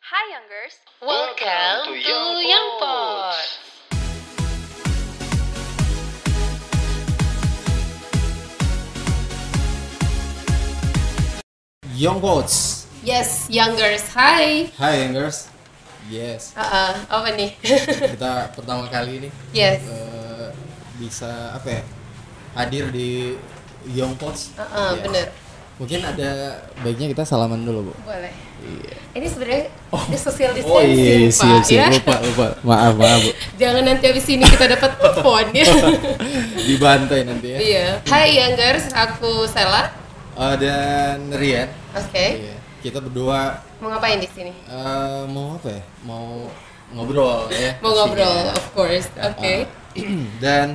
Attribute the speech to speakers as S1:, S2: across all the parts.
S1: Hi Youngers,
S2: Welcome to Young Pods.
S3: Young Pods
S2: Yes, Youngers. Hai.
S3: Hai Youngers Yes
S2: Ah, ah, apa nih?
S3: Kita pertama kali ini
S2: yes.
S3: eh, bisa apa ya Hadir di Young Pods
S2: Ah, ah,
S3: Yes.
S2: bener.
S3: Mungkin ada baiknya kita salaman dulu Bu
S2: Boleh.
S3: Iya
S2: Ini sebenarnya ini social distancing,
S3: Oh iya
S2: Pak,
S3: siap
S2: ya.
S3: siap lupa lupa Maaf maaf Bu
S2: Jangan nanti habis ini kita dapat phone ya.
S3: Dibantai nanti ya
S2: Iya. Hai Youngers, aku Sela.
S3: Eh, Dan Rian
S2: Oke.
S3: Iya. Kita berdua
S2: Mau ngapain di sini?
S3: eh, mau apa ya Mau ngobrol ya
S2: Mau
S3: pastinya.
S2: ngobrol, of course.
S3: Ah.
S2: Oke.
S3: Dan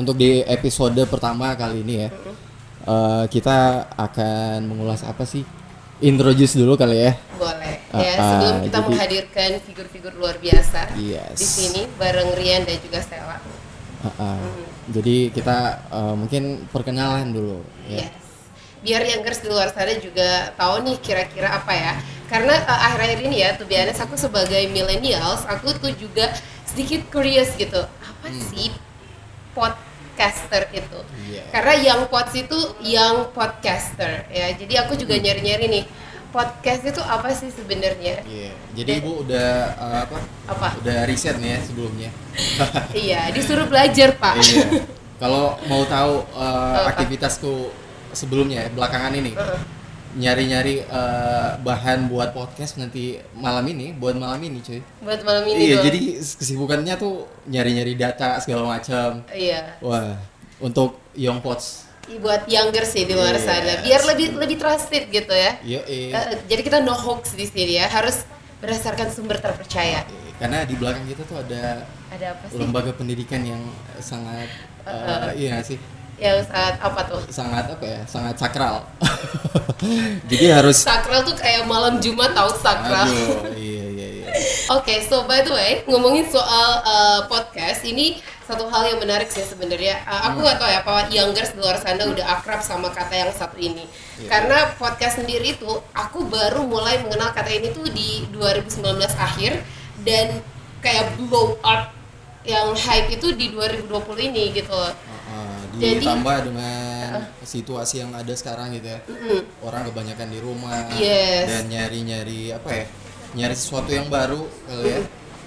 S3: untuk di episode pertama kali ini ya, eh, kita akan mengulas apa sih? Introduce dulu kali ya.
S2: Boleh.
S3: Ah,
S2: Ya,
S3: ah,
S2: sebelum kita
S3: jadi-
S2: menghadirkan figur-figur luar biasa
S3: Yes.
S2: di sini bareng Rian dan juga Sela.
S3: Heeh. Ah, Jadi kita eh, mungkin perkenalan dulu. Ya.
S2: Yes. Biar yang di luar sana juga tahu nih kira-kira apa ya. Karena eh, akhir-akhir ini ya, tuh biasanya aku sebagai millennials, aku tuh juga sedikit curious gitu. Apa
S3: Hmm.
S2: sih podcaster itu?
S3: Iya.
S2: Karena yang pods itu yang podcaster ya. Jadi aku
S3: Hmm.
S2: juga nyari-nyari nih podcast itu apa sih sebenarnya?
S3: Iya. Jadi
S2: Ya.
S3: ibu udah eh, apa?
S2: Apa?
S3: Udah riset nih ya sebelumnya.
S2: iya, disuruh belajar, Pak.
S3: iya. Kalau mau tahu eh,
S2: Apa?
S3: aktivitasku sebelumnya belakangan ini.
S2: Heeh.
S3: Nyari-nyari eh, bahan buat podcast nanti malam ini, buat malam ini cuy.
S2: Buat malam ini
S3: Iya,
S2: doang.
S3: jadi kesibukannya tuh nyari-nyari data segala macam.
S2: Iya.
S3: Wah, untuk Young Pots.
S2: Ih, buat younger sih di luar
S3: Yes.
S2: sana. Biar lebih lebih trusted gitu ya.
S3: Yo, eh.
S2: Eh, jadi kita no hoax di sini ya, harus berdasarkan sumber terpercaya.
S3: Eh, Karena di belakang kita tuh ada
S2: Ada apa sih?
S3: lembaga pendidikan yang sangat eh, iya nggak sih?
S2: Yang saat Ya, apa tuh?
S3: Sangat apa ya? Sangat sakral. jadi harus
S2: Sakral tuh kayak malam Jumat tahu sakral.
S3: Aduh, iya iya iya.
S2: Oke, so by the way, ngomongin soal eh, podcast ini satu hal yang menarik sih sebenarnya. Eh,
S3: Hmm.
S2: aku nggak tahu ya apa youngers di luar sana udah akrab sama kata yang satu ini.
S3: Iya.
S2: Karena podcast sendiri itu aku baru mulai mengenal kata ini tuh di 2019 akhir dan kayak blow up yang hype itu di 2020 ini gitu loh.
S3: Heeh,
S2: Jadi-
S3: ditambah dengan situasi yang ada sekarang gitu ya. Orang kebanyakan di rumah
S2: Yes.
S3: dan nyari-nyari apa ya? Nyari sesuatu yang baru kali ya.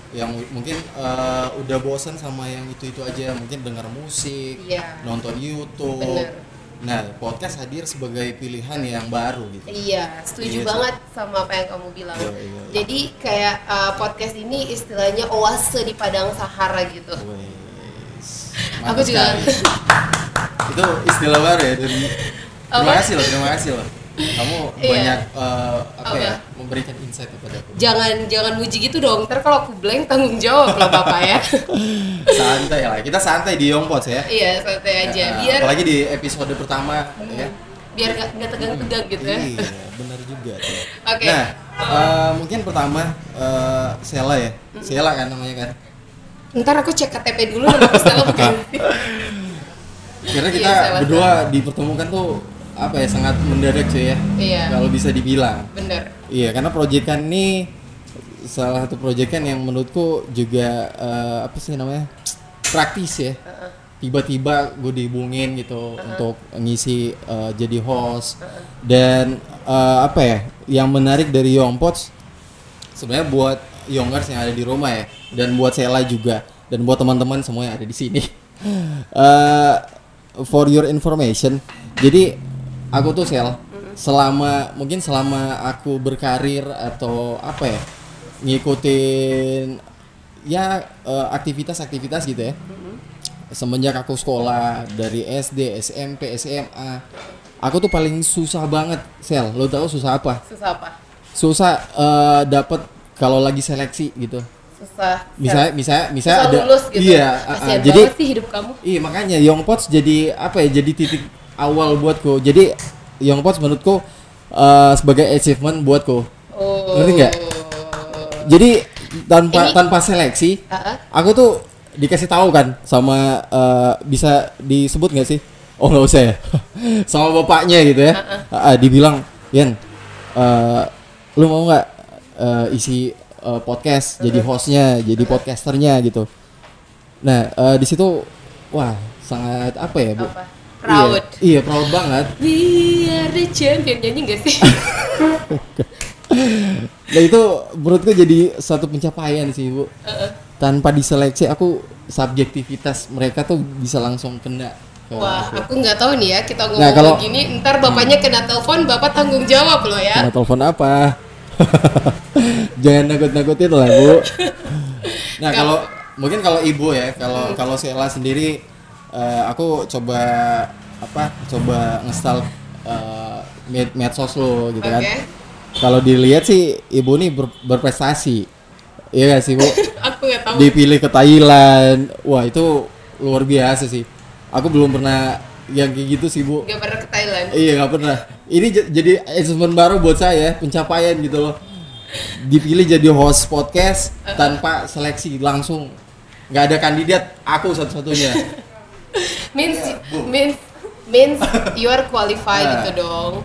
S3: Yang mu- mungkin eh, udah bosan sama yang itu-itu aja, mungkin dengar musik,
S2: Iya.
S3: nonton YouTube.
S2: Bener.
S3: Nah, podcast hadir sebagai pilihan yang baru gitu.
S2: Iya, setuju
S3: Iya, Sa.
S2: banget sama apa yang kamu bilang.
S3: Iya, iya, iya.
S2: Jadi kayak uh, podcast ini istilahnya oase di padang Sahara gitu.
S3: Wes,
S2: Aku
S3: mantap
S2: juga.
S3: sekali. itu istilah baru ya dan terima
S2: Apa?
S3: kasih loh terima kasih loh kamu
S2: Iya.
S3: banyak eh, apa
S2: Apa?
S3: ya memberikan insight kepada aku
S2: jangan jangan muji gitu dong. Ntar kalau aku blank tanggung jawab lah Bapak ya.
S3: santai lah kita santai di Yongpots ya
S2: iya, santai aja.
S3: Eh,
S2: Biar
S3: apalagi di episode pertama ya
S2: biar nggak nggak tegang-tegang gitu ya.
S3: iya benar juga tuh.
S2: Oke.
S3: nah eh, mungkin pertama eh, Sela ya Sela kan namanya kan
S2: Ntar aku cek KTP dulu nama aku salah bukan.
S3: karena
S2: Iya,
S3: kita
S2: Sela.
S3: berdua dipertemukan tuh apa ya sangat mendadak cuy ya
S2: Iya.
S3: kalau bisa dibilang
S2: Bener.
S3: Iya, karena proyekan ini salah satu proyekan yang menurutku juga eh, apa sih namanya praktis ya. Tiba-tiba gue dihubungin gitu untuk ngisi eh, jadi host dan eh, apa ya yang menarik dari Yongpots sebenarnya buat Youngers yang ada di rumah ya dan buat Sela juga dan buat teman-teman semua yang ada di sini. Eh, for your information, jadi aku tuh Sel selama mungkin selama aku berkarir atau apa ya ngikutin ya eh, aktivitas-aktivitas gitu ya semenjak aku sekolah dari SD SMP SMA aku tuh paling susah banget Sel lo tau susah apa
S2: Susah apa?
S3: susah eh, dapat kalau lagi seleksi gitu.
S2: Susah.
S3: Misalnya, misalnya, misalnya
S2: Ya. susah
S3: ada.
S2: lulus gitu.
S3: Iya. uh, uh,
S2: Kasihan
S3: jadi,
S2: banget sih hidup kamu.
S3: iya makanya Young Pots jadi apa ya? Jadi titik awal buatku. Jadi Young Pots menurutku eh, sebagai achievement buatku.
S2: Oh.
S3: Ngerti nggak? Jadi tanpa
S2: Ini-
S3: tanpa seleksi,
S2: Ah, ah.
S3: aku tuh dikasih tahu kan sama eh, bisa disebut nggak sih? Oh nggak usah ya, sama bapaknya gitu ya. Ah, ah, dibilang, Yan, eh, lu mau nggak eh, isi eh, podcast, jadi hostnya, jadi podcasternya gitu. Nah eh, di situ wah sangat apa ya bu?
S2: Apa? Proud.
S3: Iya, iya proud banget.
S2: We are the champion nyanyi gak sih?
S3: Nah itu menurutku jadi satu pencapaian sih bu. Tanpa diseleksi aku subjektivitas mereka tuh bisa langsung kena. ke
S2: Wah,
S3: aku.
S2: aku nggak tahu nih ya kita ngomong
S3: Nah, kalau-
S2: begini, ntar bapaknya kena telepon, bapak tanggung jawab loh ya.
S3: Kena telepon apa? Jangan nakut-nakutin lah bu. Nah kalau mungkin kalau ibu ya, kalau kalau Sheila sendiri, eh, aku coba apa? Coba ngestal eh, med medsos lo gitu
S2: Oke.
S3: kan. Kalau dilihat sih ibu nih ber- berprestasi, iya gak sih bu?
S2: Aku nggak tahu.
S3: dipilih ke Thailand. Wah, itu luar biasa sih. Aku belum pernah yang kayak gitu sih, Bu.
S2: Nggak pernah ke Thailand.
S3: Iya, nggak pernah. Ini j- jadi assessment baru buat saya, pencapaian gitu loh. Dipilih jadi host podcast tanpa seleksi langsung. nggak ada kandidat, aku satu-satunya.
S2: means
S3: Iya, Bu.
S2: means means you are qualified
S3: Nah.
S2: gitu dong.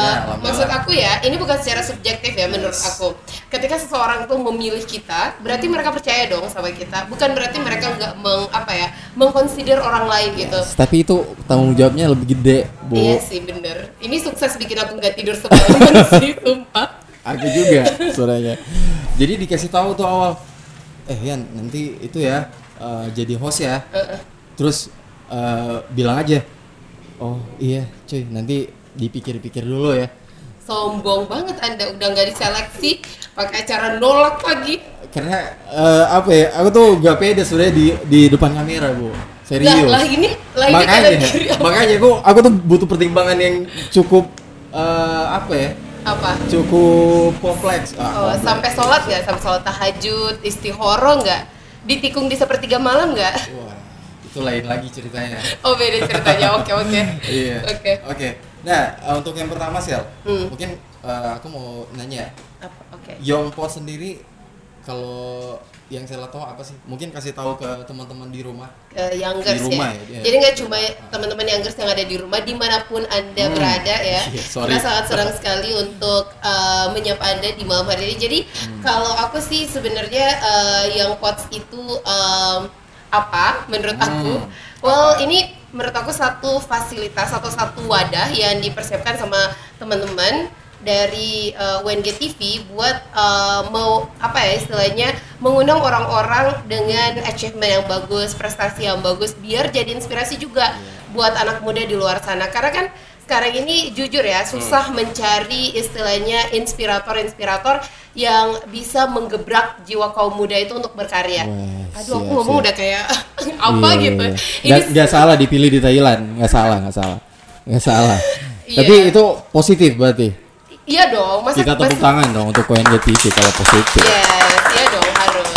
S2: Eh,
S3: alhamdulillah.
S2: maksud aku ya, ini bukan secara subjektif ya menurut aku. Ketika seseorang tuh memilih kita, berarti
S3: Hmm.
S2: mereka percaya dong sama kita. Bukan berarti mereka nggak meng apa ya, mengconsider orang lain gitu.
S3: Tapi itu tanggung jawabnya lebih gede, Bu.
S2: Iya sih bener. Ini sukses bikin aku nggak tidur semalam sih, sumpah.
S3: Aku juga suaranya. Jadi dikasih tahu tuh awal, eh Yan nanti itu ya eh, jadi host ya. Terus eh, bilang aja, oh iya cuy nanti dipikir-pikir dulu ya.
S2: Sombong banget Anda udah nggak diseleksi, pakai acara nolak lagi.
S3: Karena eh, apa ya, aku tuh gak pede sebenarnya di di depan kamera bu, serius.
S2: Lah, lah ini, lah ini
S3: makanya,
S2: kanan kiri apa?
S3: makanya aku aku tuh butuh pertimbangan yang cukup eh, apa ya,
S2: Apa?
S3: cukup kompleks.
S2: Oh,
S3: Ah, kompleks.
S2: sampai sholat nggak? Sampai sholat tahajud, istihoro nggak? Ditikung di sepertiga malam nggak?
S3: Wah, itu lain lagi ceritanya.
S2: Oh beda ceritanya, oke oke
S3: Iya.
S2: Oke
S3: Oke. Nah, eh, untuk yang pertama Sel,
S2: Hmm.
S3: mungkin eh, aku mau nanya,
S2: Apa- Oke
S3: Yongpo sendiri kalau yang Sel tahu apa sih? Mungkin kasih tahu ke teman-teman di rumah.
S2: Eh, youngers
S3: Di rumah ya,
S2: ya.
S3: iya.
S2: Jadi nggak cuma teman-teman youngers yang ada di rumah, dimanapun anda
S3: Hmm.
S2: berada ya.
S3: Iya, sorry.
S2: Kita sangat senang sekali untuk eh, menyapa anda di malam hari ini. Jadi
S3: Hmm.
S2: kalau aku sih sebenarnya eh, yang pots itu em, apa? Menurut
S3: Hmm.
S2: aku, well ini menurut aku satu fasilitas atau satu wadah yang dipersiapkan sama teman-teman dari eh, WNG TV buat eh, mau apa ya istilahnya mengundang orang-orang dengan achievement yang bagus, prestasi yang bagus biar jadi inspirasi juga
S3: Iya.
S2: buat anak muda di luar sana. Karena kan sekarang ini jujur ya susah
S3: Hmm.
S2: mencari istilahnya inspirator-inspirator yang bisa menggebrak jiwa kaum muda itu untuk berkarya.
S3: Wah,
S2: Aduh, aku
S3: siap,
S2: ngomong
S3: siap.
S2: udah kayak apa
S3: Iya,
S2: gitu.
S3: iya, iya.
S2: Ini
S3: Nggak- nggak salah dipilih di Thailand, nggak salah, nggak salah, nggak salah.
S2: Iya.
S3: Tapi itu positif berarti.
S2: Iya dong, masa
S3: Kita tepuk
S2: masa-
S3: tangan dong untuk KNG TV kalau positif.
S2: Yes, iya dong harus.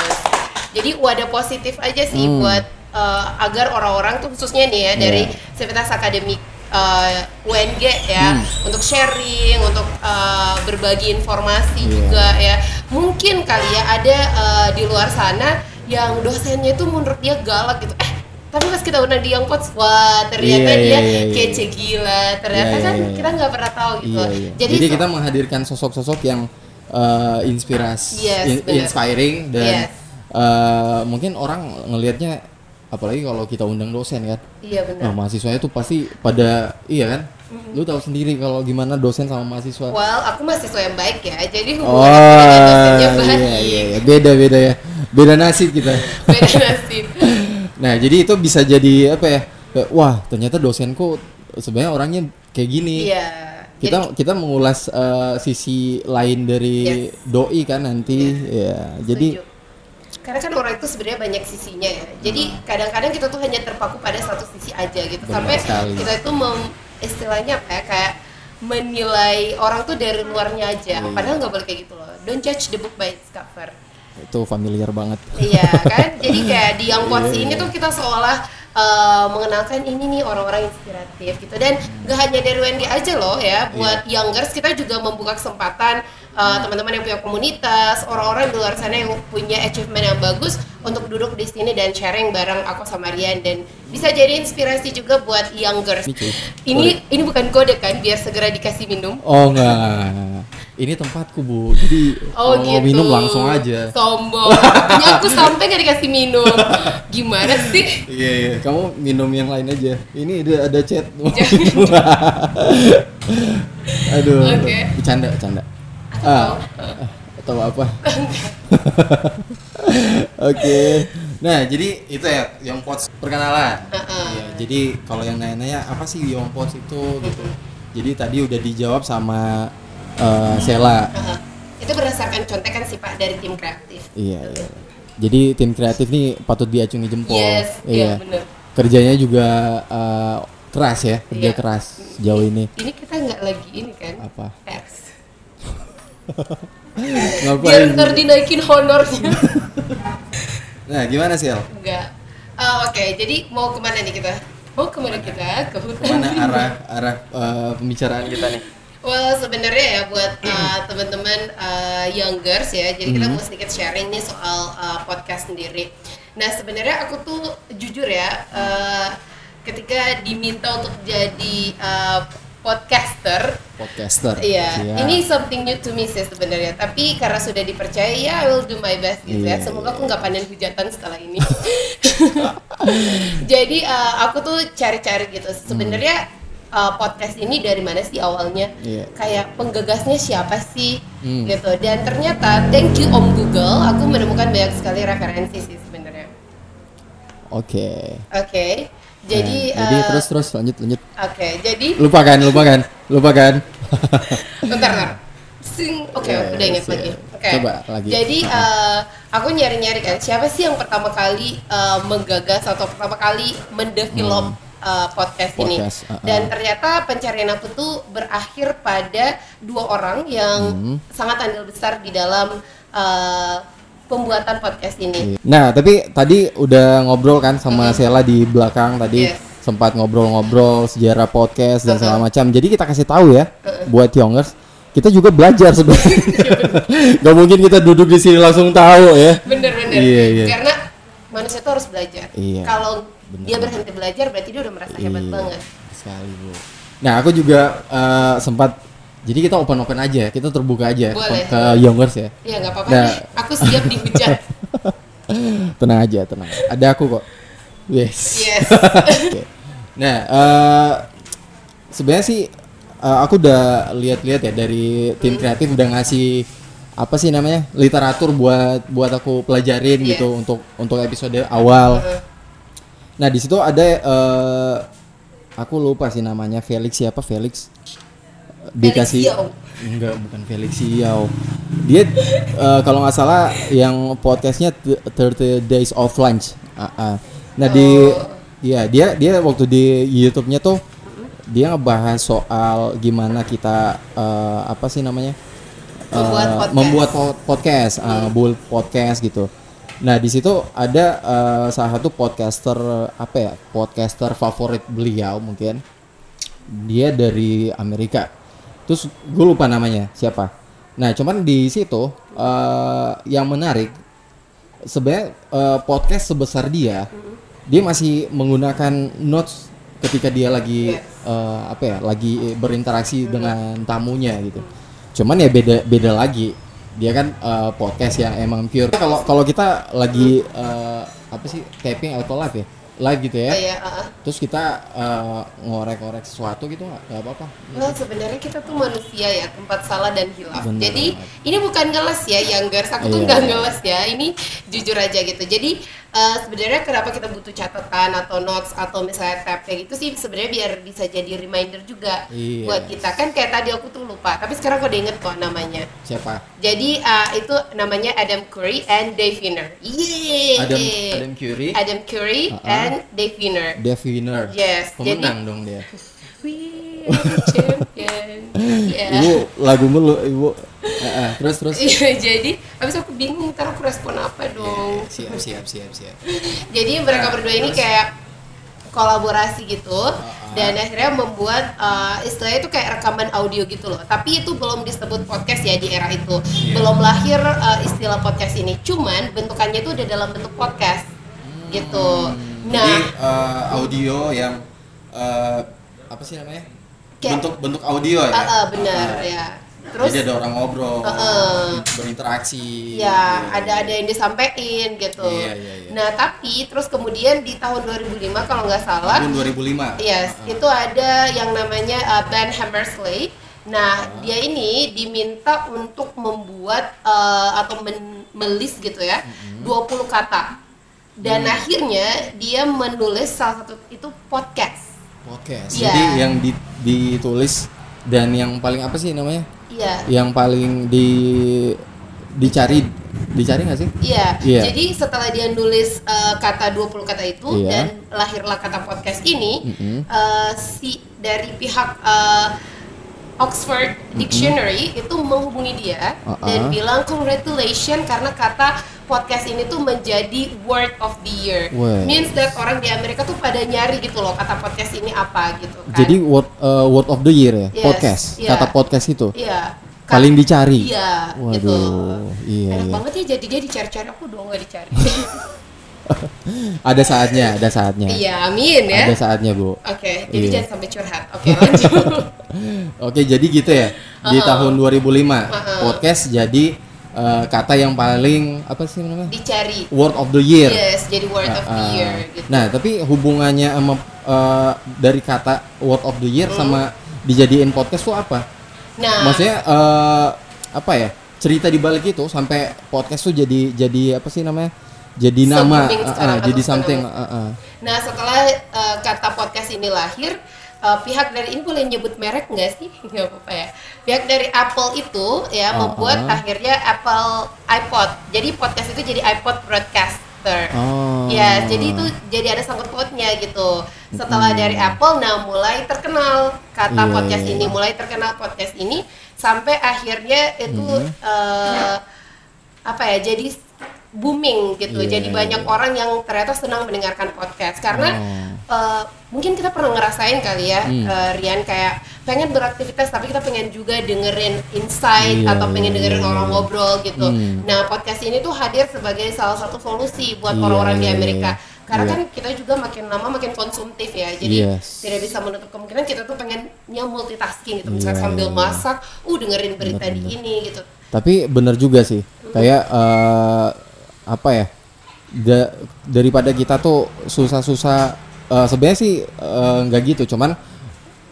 S2: Jadi wadah positif aja sih
S3: Hmm.
S2: buat eh, agar orang-orang tuh khususnya nih ya dari
S3: Iya.
S2: Civitas Akademik eh, UNG ya
S3: Hmm.
S2: untuk sharing, untuk eh, berbagi informasi
S3: Iya.
S2: juga ya. Mungkin kali ya ada eh, di luar sana yang dosennya itu menurut dia galak gitu. Eh, tapi pas kita udah di Young Pots, wah ternyata
S3: Iya,
S2: dia
S3: iya, iya, iya.
S2: kece gila. Ternyata
S3: Iya, iya,
S2: kan
S3: iya, iya.
S2: kita nggak pernah tahu gitu.
S3: Iya, iya. Jadi, kita menghadirkan sosok-sosok yang eh, inspirasi,
S2: Yes,
S3: in-
S2: benar.
S3: inspiring dan
S2: Yes.
S3: eh, mungkin orang ngelihatnya apalagi kalau kita undang dosen kan.
S2: iya benar.
S3: Nah, mahasiswanya tuh pasti pada iya kan?
S2: Mm-hmm.
S3: Lu tahu sendiri kalau gimana dosen sama mahasiswa.
S2: Well, aku mahasiswa yang baik ya, jadi
S3: oh,
S2: hubungan aku dengan dosennya baik.
S3: iya, iya, iya. beda-beda ya. Beda nasib kita.
S2: Beda nasib.
S3: Nah, jadi itu bisa jadi apa ya? Kayak, Wah, ternyata dosenku sebenarnya orangnya kayak gini.
S2: Iya.
S3: kita kita mengulas eh, sisi lain dari
S2: Yes. Iya.
S3: doi kan nanti ya
S2: Jadi,
S3: jadi
S2: setuju. karena kan orang itu sebenarnya banyak sisinya ya. Jadi kadang-kadang kita tuh hanya terpaku pada satu sisi aja gitu.
S3: Hmm. Benar
S2: Sampai
S3: sekali.
S2: kita itu mem- istilahnya apa ya kayak menilai orang tuh dari luarnya aja.
S3: Iya,
S2: Padahal nggak boleh kayak gitu loh. Don't judge the book by its cover.
S3: itu familiar banget
S2: Iya kan, jadi kayak di Young
S3: Iya.
S2: Pots ini tuh kita seolah eh, mengenalkan ini nih orang-orang inspiratif gitu dan gak hanya dari Wendy aja loh ya,
S3: Iya.
S2: buat youngers kita juga membuka kesempatan eh, teman-teman yang punya komunitas, orang-orang di luar sana yang punya achievement yang bagus untuk duduk di sini dan sharing bareng aku sama Rian dan bisa jadi inspirasi juga buat youngers.
S3: Ini cuy.
S2: Ini ini bukan kode kan, biar segera dikasih minum.
S3: oh enggak ini tempatku bu jadi
S2: Oh
S3: kalau
S2: gitu.
S3: mau minum langsung aja
S2: Sombong. Artinya aku sampai gak dikasih minum. Gimana sih?
S3: iya iya kamu minum yang lain aja ini ada ada chat aduh
S2: Oke.
S3: bercanda bercanda
S2: Atau-
S3: ah, atau apa oke nah jadi itu ya Yongpots perkenalan
S2: Uh-uh.
S3: Iya, jadi kalau yang nanya-nanya apa sih Yongpots itu gitu jadi tadi udah dijawab sama eh, Sela
S2: Heeh. Itu berdasarkan contekan sih Pak dari tim kreatif.
S3: Iya, iya. Jadi tim kreatif nih patut diacungi jempol.
S2: Yes, iya, bener.
S3: Kerjanya juga eh, keras ya, kerja
S2: Iya.
S3: keras jauh ini.
S2: Ini kita nggak lagi ini kan?
S3: Apa?
S2: Pers. Biar
S3: Ngapain?
S2: ntar dinaikin honornya.
S3: Nah, gimana sih, El?
S2: Enggak. Eh, Oke, jadi mau kemana nih kita? Mau kemana kita? Ke hutan.
S3: Kemana arah arah eh, pembicaraan kita nih?
S2: Well, sebenarnya ya buat uh, teman-teman uh, youngers ya, jadi kita mau sedikit sharing nih soal uh, podcast sendiri. Nah, sebenarnya aku tuh jujur ya, uh, ketika diminta untuk jadi uh, podcaster,
S3: Podcaster.
S2: Iya,
S3: Siap.
S2: ini something new to me sih sebenarnya. Tapi karena sudah dipercaya, ya I will do my best gitu ya.
S3: Iya,
S2: Semoga aku nggak panen hujatan setelah ini. Jadi eh, aku tuh cari-cari gitu.
S3: Hmm.
S2: Sebenarnya eh, podcast ini dari mana sih awalnya?
S3: Iya.
S2: Kayak penggagasnya siapa sih?
S3: Hmm.
S2: Gitu. Dan ternyata, thank you Om Google, aku menemukan banyak sekali referensi sih sebenarnya.
S3: Oke.
S2: Oke. Jadi,
S3: Nah, jadi
S2: eh,
S3: terus terus lanjut lanjut.
S2: Oke, jadi
S3: Lupakan, lupakan, lupakan.
S2: bentar bentar sing oke
S3: Iya,
S2: udah ingat
S3: siap.
S2: lagi oke
S3: Coba lagi.
S2: jadi eh, aku nyari nyari kan siapa sih yang pertama kali eh, menggagas atau pertama kali mendevelop eh, podcast, ini
S3: Hmm. Podcast, uh-uh.
S2: dan ternyata pencarian aku tuh berakhir pada dua orang yang
S3: Hmm.
S2: sangat andil besar di dalam eh, pembuatan podcast ini
S3: Nah, tapi tadi udah ngobrol kan sama Sela di belakang tadi
S2: Yes.
S3: sempat ngobrol-ngobrol sejarah podcast dan
S2: Uh-uh.
S3: segala macam. Jadi kita kasih tahu ya buat youngers, kita juga belajar sebenarnya. Gak mungkin kita duduk di sini langsung tahu ya.
S2: bener-bener
S3: Iya, iya.
S2: karena manusia tuh harus belajar
S3: Iya.
S2: kalau
S3: Bener.
S2: dia berhenti belajar berarti dia udah merasa hebat
S3: Iya,
S2: banget
S3: Sekali, Bu. Nah, aku juga eh, sempat jadi kita open-open aja, ya, kita terbuka aja
S2: Boleh.
S3: ke youngers ya.
S2: Iya nggak apa-apa
S3: Nah.
S2: deh. Aku siap dihujat.
S3: tenang aja, tenang. Ada aku kok. Yes.
S2: Yes.
S3: Oke. Nah, eh sebenarnya sih eh, aku udah lihat-lihat ya dari tim kreatif udah ngasih apa sih namanya literatur buat buat aku pelajarin
S2: Yes.
S3: gitu untuk untuk episode awal. Nah di situ ada eh aku lupa sih namanya Felix siapa Felix dikasih
S2: Yao.
S3: enggak bukan Felix Yao dia eh, kalau nggak salah yang podcastnya Th- 30 Days of Lunch Ah, ah. nah di
S2: Oh.
S3: ya dia dia waktu di YouTube-nya tuh dia ngebahas soal gimana kita eh, apa sih namanya Eh,
S2: Membuat podcast. Hmm.
S3: membuat po- podcast eh, buat podcast gitu nah di situ ada eh, salah satu podcaster apa ya podcaster favorit beliau mungkin dia dari Amerika terus gue lupa namanya siapa nah cuman di situ eh, yang menarik sebenarnya eh, podcast sebesar dia dia masih menggunakan notes ketika dia lagi eh, apa ya lagi berinteraksi dengan tamunya gitu cuman ya beda beda lagi dia kan eh, podcast yang emang pure kalau kalau kita lagi eh, apa sih taping atau live ya live gitu ya
S2: Iya. heeh.
S3: terus kita eh, ngorek-ngorek sesuatu gitu nggak nggak apa-apa
S2: Well, sebenarnya kita tuh manusia ya, tempat salah dan hilaf.
S3: Bener
S2: Jadi ini bukan ngeles ya, youngers. Aku tuh
S3: Iya.
S2: nggak ngeles ya. Ini jujur aja gitu. Jadi eh, sebenarnya kenapa kita butuh catatan atau notes atau misalnya tab kayak gitu sih sebenarnya biar bisa jadi reminder juga
S3: Iya.
S2: buat kita. Kan kayak tadi aku tuh lupa, tapi sekarang aku udah inget kok namanya.
S3: siapa
S2: Jadi eh, itu namanya Adam Curry and Dave Viner. Yeay.
S3: Adam Adam Curry
S2: Adam Curry
S3: Uh-uh.
S2: and Dave Viner.
S3: Dev Winner
S2: Yes,
S3: pemenang dong dia
S2: We are the champion.
S3: ibu
S2: Iya.
S3: lagu mulu ibu Eh, eh, terus terus
S2: Iya,
S3: iya,
S2: jadi habis aku bingung ntar aku respon apa dong.
S3: siap siap siap siap
S2: Jadi mereka berdua ini kayak kolaborasi gitu dan akhirnya membuat eh, istilahnya itu kayak rekaman audio gitu loh. Tapi itu belum disebut podcast ya di era itu. Belum lahir eh, istilah podcast ini. Cuman bentukannya itu udah dalam bentuk podcast gitu.
S3: Hmm. jadi
S2: Nah,
S3: eh, audio yang eh, apa sih namanya
S2: Kayak-
S3: bentuk bentuk audio ya
S2: Ah, ah, uh, benar ya. Terus
S3: jadi ada orang ngobrol
S2: Heeh.
S3: berinteraksi
S2: ya
S3: gitu.
S2: ada ada yang disampaikan gitu.
S3: Iya, iya, iya.
S2: Nah tapi terus kemudian di tahun 2005 kalau nggak salah
S3: tahun 2005
S2: Yes,
S3: Heeh.
S2: itu ada yang namanya uh, Ben Hammersley. Nah,
S3: Uh-huh.
S2: dia ini diminta untuk membuat uh, atau men- melis gitu ya, 20 kata. Dan
S3: Hmm.
S2: akhirnya dia menulis salah satu itu podcast.
S3: podcast
S2: Iya.
S3: jadi yang di- ditulis dan yang paling apa sih namanya
S2: Iya.
S3: yang paling di dicari dicari nggak sih
S2: Iya.
S3: Iya.
S2: Jadi setelah dia nulis uh, kata 20 kata itu
S3: Iya.
S2: dan lahirlah kata podcast ini
S3: Mm-mm.
S2: uh, si dari pihak uh, Oxford Dictionary itu menghubungi dia
S3: Uh-uh.
S2: dan bilang congratulations karena kata podcast ini tuh menjadi word of the year.
S3: Wes.
S2: Means that orang di Amerika tuh pada nyari gitu loh kata podcast ini apa gitu kan.
S3: jadi word eh, word of the year ya
S2: Yes,
S3: podcast
S2: iya.
S3: kata podcast itu
S2: iya. Ka-
S3: paling dicari
S2: Iya,
S3: waduh
S2: gitu.
S3: iya,
S2: Enak
S3: iya.
S2: banget ya jadi dia dicari-cari aku dong nggak dicari.
S3: ada saatnya ada saatnya
S2: Iya, amin ya.
S3: ada saatnya bu
S2: Oke, jadi
S3: Iya.
S2: jangan sampai curhat. Oke, lanjut.
S3: Oke, jadi gitu ya. Di
S2: Uh-uh.
S3: tahun 2005
S2: Uh-huh.
S3: podcast jadi eh, kata yang paling apa sih namanya?
S2: Dicari.
S3: Word of the year.
S2: Yes, jadi word of the
S3: Ah,
S2: year gitu.
S3: Nah, tapi hubungannya sama eh, dari kata word of the
S2: Hmm.
S3: year sama dijadiin podcast tuh apa?
S2: Nah,
S3: Maksudnya eh, apa ya? Cerita di balik itu sampai podcast tuh jadi jadi apa sih namanya? Jadi nama,
S2: Something
S3: eh, eh,
S2: sekarang atau
S3: jadi
S2: sekarang.
S3: something. eh, eh.
S2: nah setelah eh, kata podcast ini lahir, eh, pihak dari ini boleh nyebut merek nggak sih? Nggak apa-apa ya. Pihak dari Apple itu ya
S3: Ah,
S2: membuat
S3: ah.
S2: akhirnya Apple iPod. Jadi podcast itu jadi iPod broadcaster.
S3: Oh.
S2: Ya, jadi itu jadi ada sangkut pautnya gitu. Setelah dari Apple, nah mulai terkenal kata
S3: Iya,
S2: podcast
S3: iya,
S2: ini,
S3: iya.
S2: mulai terkenal podcast ini sampai akhirnya itu
S3: Mm-hmm.
S2: eh, apa ya? Jadi booming gitu.
S3: Iya,
S2: jadi
S3: iya,
S2: banyak
S3: iya. Oh.
S2: orang yang ternyata senang mendengarkan podcast karena eh, mungkin kita pernah ngerasain kali ya,
S3: Hmm.
S2: eh, Rian kayak pengen beraktivitas tapi kita pengen juga dengerin insight
S3: Iya,
S2: atau pengen
S3: iya,
S2: dengerin
S3: iya,
S2: orang
S3: iya.
S2: ngobrol gitu.
S3: Hmm.
S2: Nah, podcast ini tuh hadir sebagai salah satu solusi buat
S3: Iya,
S2: orang-orang di
S3: iya,
S2: Amerika.
S3: iya.
S2: Karena
S3: Iya.
S2: kan kita juga makin lama makin konsumtif ya, jadi
S3: Yes.
S2: tidak bisa menutup kemungkinan kita tuh pengennya multitasking gitu, misalnya
S3: Iya,
S2: sambil
S3: iya, iya.
S2: masak, uh dengerin berita di ini gitu.
S3: Tapi bener juga sih. Kayak eh, apa ya? da- daripada kita tuh susah-susah eh, sebenarnya sih eh, nggak gitu, cuman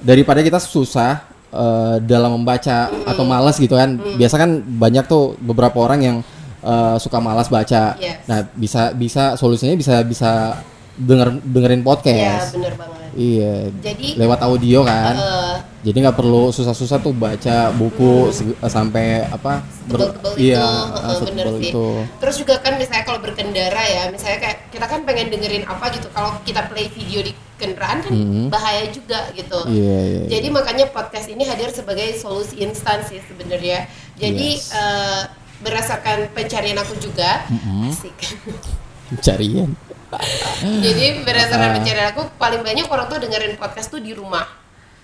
S3: daripada kita susah eh, dalam membaca atau malas gitu kan.
S2: Hmm.
S3: Biasa kan banyak tuh beberapa orang yang eh, suka malas baca.
S2: Yes.
S3: Nah, bisa bisa solusinya bisa bisa denger dengerin
S2: Ya,
S3: podcast.
S2: bener banget.
S3: Iya.
S2: Jadi-
S3: lewat audio kan.
S2: Eh,
S3: Jadi nggak perlu susah-susah tuh baca buku seg- sampai apa
S2: tebel-tebel itu,
S3: iya ah,
S2: heeh, bener
S3: setebel
S2: sih.
S3: itu.
S2: Terus juga kan misalnya kalau berkendara ya, misalnya kayak kita kan pengen dengerin apa gitu, kalau kita play video di kendaraan kan bahaya juga gitu.
S3: Mm-hmm. Iya iya. iya.
S2: Jadi makanya podcast ini hadir sebagai solusi instan sih sebenarnya. Jadi
S3: Yes.
S2: eh, berdasarkan pencarian aku juga, asik.
S3: Carian.
S2: Jadi berdasarkan
S3: Ah.
S2: pencarian aku paling banyak orang tuh dengerin podcast tuh di rumah.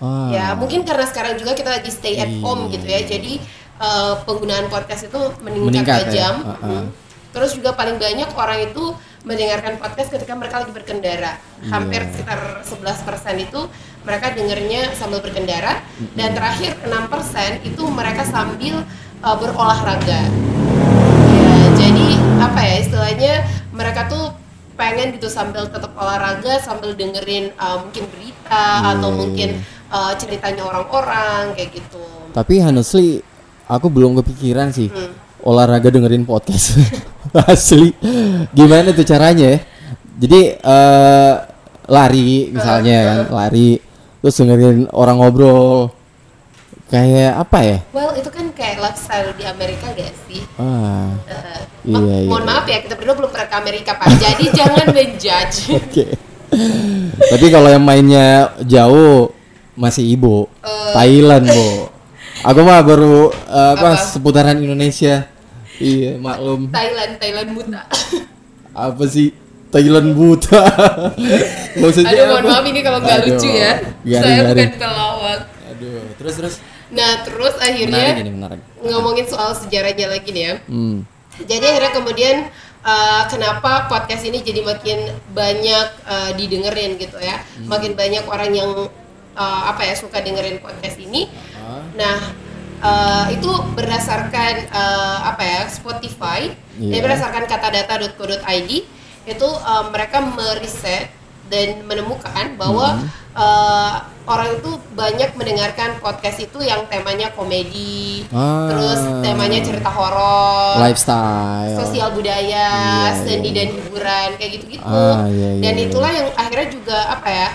S3: Ah,
S2: Ya mungkin karena sekarang juga kita lagi stay at
S3: Iya.
S2: home gitu ya. Jadi eh, penggunaan podcast itu
S3: Meningkat
S2: meningkat,
S3: ya,
S2: tajam.
S3: ah, ah.
S2: Mm. Terus juga paling banyak orang itu mendengarkan podcast ketika mereka lagi berkendara. Hampir
S3: Iya.
S2: sekitar 11% itu mereka dengernya sambil berkendara dan terakhir 6% itu mereka sambil eh, berolahraga. Ya, jadi apa ya istilahnya mereka tuh pengen gitu sambil tetap olahraga sambil dengerin eh, mungkin berita atau
S3: Iya,
S2: mungkin
S3: iya.
S2: eh, ceritanya orang-orang kayak gitu.
S3: Tapi honestly aku belum kepikiran sih
S2: Hmm.
S3: olahraga dengerin podcast. Asli. Gimana tuh caranya ya? Jadi eh lari misalnya kan, lari terus dengerin orang ngobrol kayak apa ya?
S2: Well itu kan kayak lifestyle di Amerika gak sih?
S3: Ah.
S2: Eh,
S3: Iya,
S2: ma-
S3: iya.
S2: Mohon maaf ya kita berdua belum pernah ke Amerika pak. Jadi jangan menjudge.
S3: Oke. Tapi kalau yang mainnya jauh masih ibu.
S2: Eh.
S3: Thailand, Bu. Aku mah baru eh, apa,
S2: Apa?
S3: seputaran Indonesia. Iya, maklum.
S2: Thailand Thailand buta.
S3: Apa sih Thailand buta? Maksudnya
S2: Aduh mohon
S3: Iya, apa?
S2: maaf ini kalau nggak
S3: Aduh,
S2: lucu ya.
S3: garing,
S2: Saya bukan
S3: garing.
S2: pelawak.
S3: Aduh, terus terus.
S2: Nah terus
S3: Menarik
S2: akhirnya
S3: ini, menarik.
S2: ngomongin soal sejarahnya lagi nih ya.
S3: Hmm.
S2: Jadi akhirnya kemudian eh, kenapa podcast ini jadi makin banyak eh, didengerin gitu ya,
S3: Hmm.
S2: makin banyak orang yang eh, apa ya suka dengerin podcast ini.
S3: Ah,
S2: Nah eh, itu berdasarkan eh, apa ya Spotify
S3: Iya.
S2: jadi berdasarkan katadata.co.id itu eh, mereka meriset dan menemukan
S3: Hmm.
S2: bahwa eh, orang itu banyak mendengarkan podcast itu yang temanya komedi
S3: Ah.
S2: terus temanya cerita horor
S3: lifestyle
S2: sosial budaya,
S3: Iya,
S2: seni
S3: iya.
S2: dan hiburan kayak gitu-gitu.
S3: Ah, iya, iya,
S2: dan
S3: iya.
S2: itulah yang akhirnya juga apa ya?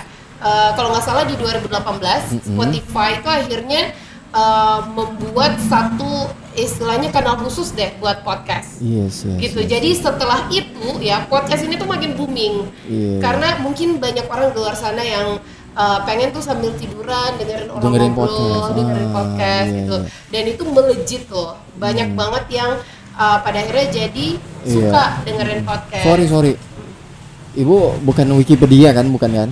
S2: eh, kalau nggak salah di 2018 Spotify itu akhirnya eh, membuat satu istilahnya kanal khusus deh buat podcast.
S3: yes yes
S2: gitu.
S3: yes.
S2: Jadi setelah itu ya podcast ini tuh makin booming.
S3: Iya.
S2: Karena mungkin banyak orang di luar sana yang eh, pengen tuh sambil tiduran dengerin orang
S3: Dengerin
S2: ngobrol,
S3: podcast.
S2: dengerin
S3: Ah,
S2: podcast
S3: iya, Hmm.
S2: gitu
S3: iya.
S2: dan itu melejit loh banyak banget yang uh, pada akhirnya jadi suka dengerin podcast
S3: Iya. sorry sorry ibu bukan Wikipedia kan bukan kan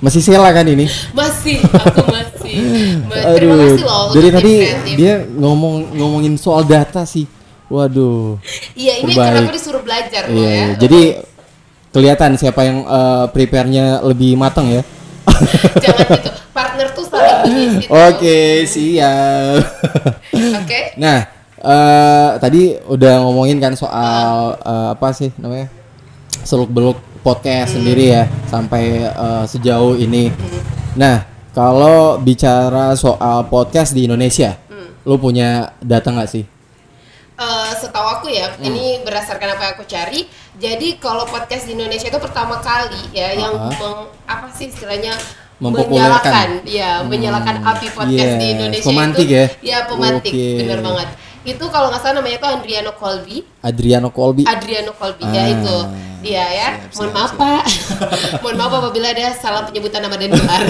S3: masih Sela kan ini
S2: masih aku masih Ma- terima
S3: Aduh,
S2: kasih loh
S3: dari
S2: untuk
S3: tadi
S2: insentif.
S3: dia ngomong ngomongin soal data sih waduh
S2: iya ini
S3: terbaik.
S2: karena aku disuruh belajar loh
S3: Iya,
S2: ya
S3: iya. jadi kelihatan siapa yang eh, prepare-nya lebih matang ya
S2: jangan gitu partner tuh saling mengisi tuh.
S3: oke siap
S2: oke
S3: nah eh, tadi udah ngomongin kan soal eh, apa sih namanya seluk beluk
S2: Hmm.
S3: podcast sendiri ya sampai eh, sejauh ini nah kalau bicara soal podcast di Indonesia
S2: Hmm.
S3: lu punya data nggak sih
S2: Eh, setahu aku ya
S3: Hmm.
S2: ini berdasarkan apa yang aku cari jadi kalau podcast di Indonesia itu pertama kali ya yang
S3: Ah.
S2: meng- apa sih istilahnya
S3: Mempopulerkan. Hmm.
S2: menyalakan ya menyalakan api podcast di
S3: yes.
S2: Indonesia
S3: Pemantik
S2: itu
S3: ya?
S2: ya pemantik
S3: Oke.
S2: bener banget itu kalau nggak salah namanya itu Adriano Colby
S3: Adriano Colby
S2: Adriano Colby ya
S3: Ah,
S2: itu dia ya mohon maaf pak mohon maaf apabila ada salah penyebutan nama dan gelar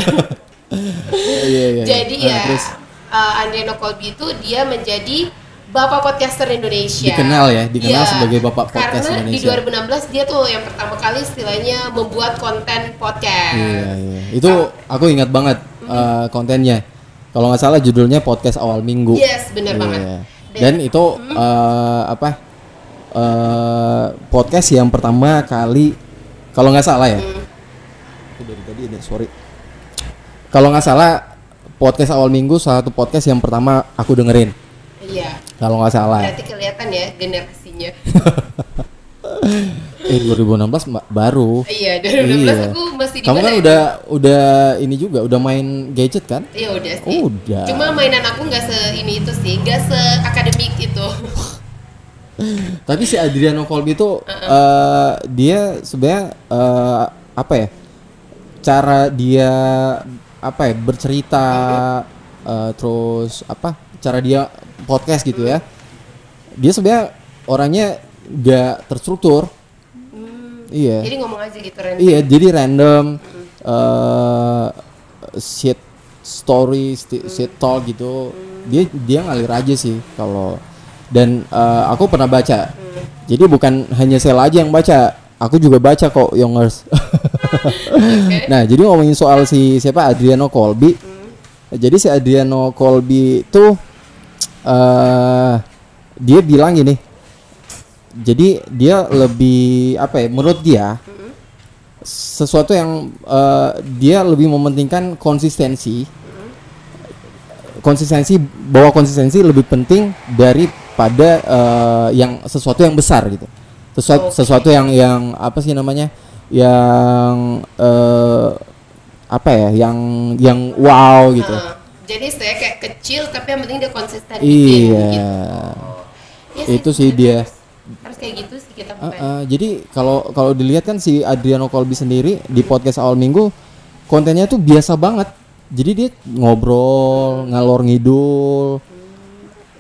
S3: Iya, iya, iya.
S2: Jadi
S3: Nah,
S2: ya,
S3: terus
S2: uh, Andriano Kolbi itu dia menjadi bapak podcaster Indonesia. Iya.
S3: Dikenal ya, dikenal sebagai bapak podcast
S2: karena
S3: Indonesia.
S2: di 2016 dia tuh yang pertama kali istilahnya membuat konten podcast.
S3: Iya, iya. Itu aku ingat banget eh, kontennya. Kalau nggak salah judulnya podcast awal minggu.
S2: Yes, bener
S3: Iya.
S2: banget.
S3: Dan itu eh, apa? eh, podcast yang pertama kali kalau nggak salah ya.
S2: Mm.
S3: Itu dari tadi ada sorry. Kalau nggak salah podcast awal minggu salah satu podcast yang pertama aku dengerin.
S2: Iya.
S3: Kalau nggak salah.
S2: Berarti kelihatan ya generasinya.
S3: Eh 2016 ma- baru.
S2: iya, 2016 aku masih di
S3: Kamu
S2: mana
S3: kan
S2: ya?
S3: udah udah ini juga udah main gadget kan?
S2: Iya udah sih.
S3: Udah.
S2: Cuma mainan aku nggak se ini itu sih, nggak gitu. se akademik itu.
S3: Tapi si Adriano Colby itu eh, dia sebenarnya eh, apa ya? Cara dia apa ya bercerita eh, terus apa? Cara dia podcast gitu ya. Dia sebenarnya orangnya gak terstruktur. Iya.
S2: Jadi ngomong aja gitu Ren.
S3: Iya, jadi random eh shit story, sti- shit talk gitu. Dia dia ngalir aja sih kalau dan eh, aku pernah baca. Jadi bukan hanya Sela aja yang baca, aku juga baca kok Youngers. Nah, jadi ngomongin soal si siapa Adriano Colby. Jadi si Adriano Colby itu eh dia bilang gini. Jadi dia lebih apa ya? Menurut dia sesuatu yang eh, dia lebih mementingkan konsistensi. Konsistensi bahwa konsistensi lebih penting daripada eh, yang sesuatu yang besar gitu. Sesuatu
S2: Oke.
S3: sesuatu yang yang apa sih namanya? yang eh, apa ya? yang yang wow gitu.
S2: Nah, jadi saya kayak kecil tapi yang penting dia konsisten bikin
S3: Iya.
S2: gitu. Iya
S3: Itu sih dia.
S2: Harus kayak gitu sih kita
S3: Eh,
S2: bukan.
S3: eh, jadi kalau kalau dilihat kan si Adriano Colby sendiri di podcast awal minggu kontennya tuh biasa banget. Jadi dia ngobrol, ngalor ngidul,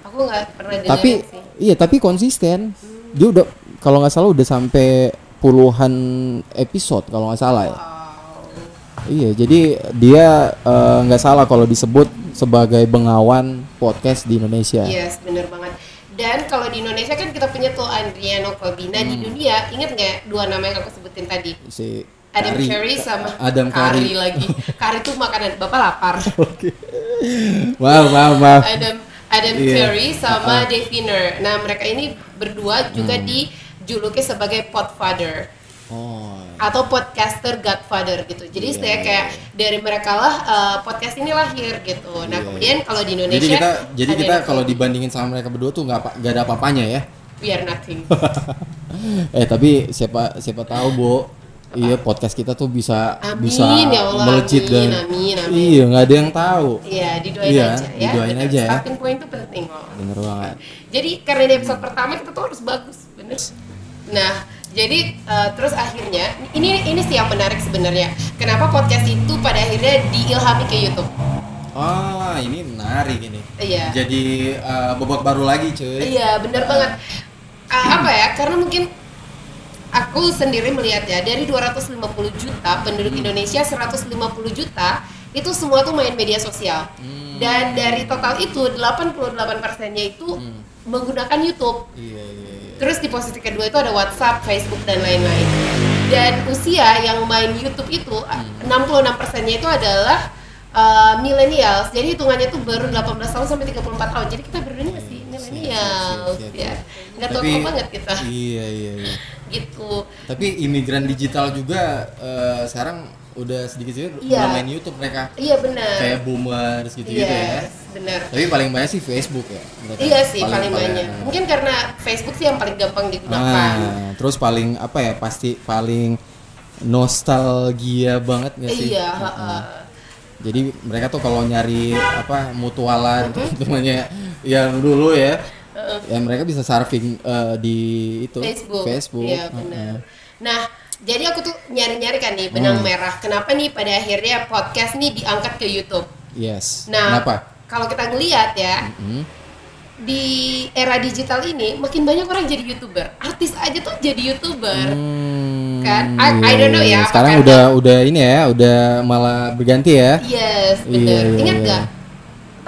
S2: Aku nggak pernah dengerin
S3: tapi
S2: sih.
S3: iya tapi konsisten. Dia udah kalau nggak salah udah sampai puluhan episode kalau nggak salah ya.
S2: Wow.
S3: Iya, jadi dia eh, nggak salah kalau disebut sebagai bengawan podcast di Indonesia.
S2: Yes, bener banget. Dan kalau di Indonesia kan kita punya tuh Adriano Colby. Nah di
S3: Hmm.
S2: dunia ingat nggak dua nama yang aku sebutin tadi?
S3: Si
S2: Adam
S3: Kari-
S2: Curry sama
S3: Adam
S2: Curry
S3: Kari.
S2: lagi. Curry tuh makanan. Bapak lapar.
S3: Wow, wow, wow.
S2: Adam Adam
S3: Iya.
S2: Curry sama
S3: Hmm.
S2: Dave Winner. Nah mereka ini berdua juga dijuluki sebagai Podfather.
S3: Oh.
S2: atau podcaster godfather gitu. Jadi
S3: Iya,
S2: saya kayak dari mereka lah eh, podcast ini lahir gitu. Nah
S3: Iya,
S2: kemudian kalau di Indonesia
S3: Jadi kita jadi
S2: ada
S3: kita
S2: yang
S3: kalau dibandingin sama mereka berdua tuh nggak apa- nggak ada apa-apanya ya.
S2: we are nothing.
S3: eh tapi siapa siapa tahu Bo iya podcast kita tuh bisa
S2: Amin,
S3: bisa
S2: ya Allah, amin,
S3: melejit dan
S2: amin, amin.
S3: iya nggak ada yang tahu
S2: Iya didoain
S3: Iya,
S2: aja ya.
S3: didoain
S2: Bener,
S3: aja ya.
S2: Starting point itu penting loh.
S3: bener banget
S2: Jadi karena di episode pertama kita tuh harus bagus, bener. Nah, jadi eh, terus akhirnya ini ini sih yang menarik sebenarnya. Kenapa podcast itu pada akhirnya diilhami ke YouTube?
S3: ah ini menarik ini
S2: Iya.
S3: jadi eh, bobot baru lagi cuy
S2: Iya, bener banget. Ah, apa ya? Karena mungkin aku sendiri melihat ya dari 250 juta penduduk
S3: Hmm.
S2: Indonesia 150 juta itu semua tuh main media sosial.
S3: Hmm.
S2: Dan dari total itu 88%-nya itu
S3: Hmm.
S2: menggunakan YouTube.
S3: iya iya iya
S2: Terus di posisi kedua itu ada WhatsApp, Facebook dan lain-lain. Dan usia yang main YouTube itu 66%-nya itu adalah uh, millennials. Jadi hitungannya itu baru 18 tahun sampai 34 tahun. Jadi kita berdua ini masih
S3: Iya,
S2: millennials
S3: siap, siap,
S2: ya.
S3: siap.
S2: Nggak tua
S3: Tapi-
S2: banget kita
S3: iya iya iya
S2: gitu.
S3: tapi imigran digital juga eh, sekarang udah sedikit sedikit
S2: Iya.
S3: udah main YouTube mereka
S2: Iya benar.
S3: kayak boomers gitu gitu ya
S2: Yes, benar.
S3: tapi paling banyak sih Facebook ya mereka.
S2: Iya sih paling, banyak.
S3: paling- ya.
S2: Mungkin karena Facebook sih yang paling gampang digunakan.
S3: Ah, terus paling apa ya? Pasti paling nostalgia banget nggak sih?
S2: iya,
S3: Heeh.
S2: heeh.
S3: Jadi mereka tuh kalau nyari apa mutualan
S2: Mm-hmm.
S3: temannya yang dulu ya, ya mereka bisa surfing eh, di itu
S2: Facebook.
S3: Facebook.
S2: Iya
S3: Heeh. Hmm.
S2: benar. Nah, jadi aku tuh nyari-nyari kan nih benang merah. Kenapa nih pada akhirnya podcast nih diangkat ke YouTube?
S3: Yes.
S2: Nah,
S3: Kenapa?
S2: kalau kita ngelihat ya
S3: Hmm?
S2: di era digital ini makin banyak orang jadi youtuber. Artis aja tuh jadi
S3: Hmm.
S2: youtuber. Kan? I- I don't know ya,
S3: Sekarang
S2: apakah-
S3: udah udah ini ya, udah malah berganti ya.
S2: Yes,
S3: Iya,
S2: benar.
S3: iya,
S2: Ingat
S3: iya.
S2: nggak?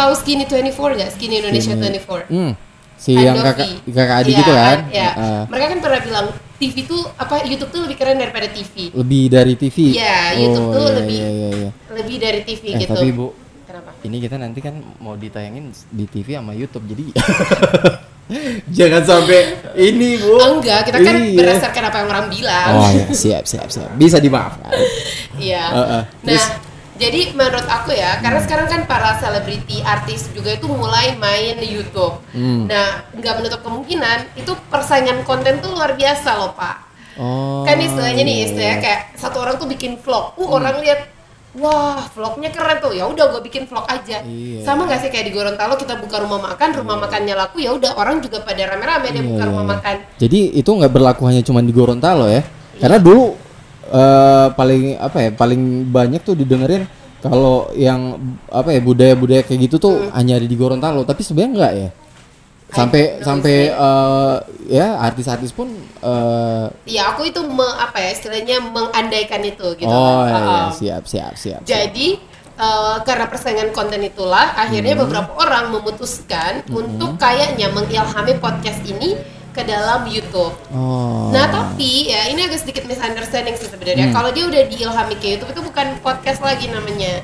S2: Tahu Skinny 24 nggak? Skinny Indonesia
S3: Ini-
S2: 24.
S3: Hmm. Si
S2: Pak
S3: yang
S2: Dovi.
S3: kakak kakak adik
S2: Iya,
S3: gitu kan?
S2: Iya.
S3: Heeh.
S2: Mereka kan pernah bilang TV tuh apa YouTube tuh lebih keren daripada TV.
S3: lebih dari TV.
S2: Iya, YouTube tuh
S3: iya,
S2: lebih-
S3: Iya, iya, iya.
S2: Lebih dari TV
S3: Eh,
S2: gitu.
S3: tapi Bu,
S2: Kenapa?
S3: ini kita nanti kan mau ditayangin di TV sama YouTube. Jadi jangan sampai ini, Bu.
S2: Enggak, kita kan
S3: Iya.
S2: berdasarkan apa yang orang bilang.
S3: Oh, iya. siap, siap, siap. Bisa dimaafkan.
S2: Iya.
S3: Heeh.
S2: Nah,
S3: uh. Terus?
S2: jadi menurut aku ya, karena sekarang kan para selebriti, artis juga itu mulai main YouTube.
S3: Hmm.
S2: Nah, nggak menutup kemungkinan itu persaingan konten tuh luar biasa loh Pak.
S3: Oh. Hmm.
S2: Kan istilahnya nih,
S3: iya,
S2: istilahnya
S3: iya.
S2: kayak satu orang tuh bikin vlog, uh orang lihat, wah vlognya keren tuh, ya udah gue bikin vlog aja.
S3: Iya.
S2: Sama nggak sih kayak di Gorontalo kita buka rumah makan, rumah makannya laku, ya udah orang juga pada rame-rame dia
S3: Iya,
S2: buka
S3: iya,
S2: rumah
S3: iya.
S2: makan.
S3: Jadi itu nggak berlaku hanya cuma di Gorontalo
S2: Iya.
S3: ya. Karena dulu eh, paling apa ya, paling banyak tuh didengerin kalau yang apa ya budaya-budaya kayak gitu tuh
S2: Hmm.
S3: hanya ada di Gorontalo, tapi sebenarnya enggak ya. Sampai
S2: know
S3: sampai eh, ya artis-artis pun eh,
S2: Ya aku itu me- apa ya istilahnya mengandaikan itu gitu. kan.
S3: oh ya, ya,
S2: Uh-uh.
S3: siap siap siap.
S2: Jadi eh, karena persaingan konten itulah akhirnya
S3: Hmm.
S2: beberapa orang memutuskan untuk kayaknya mengilhami podcast ini ke dalam YouTube.
S3: Oh. Hmm.
S2: Nah tapi ya ini agak sedikit misunderstanding sih sebenarnya. Kalau dia udah diilhami ke YouTube itu bukan podcast lagi namanya,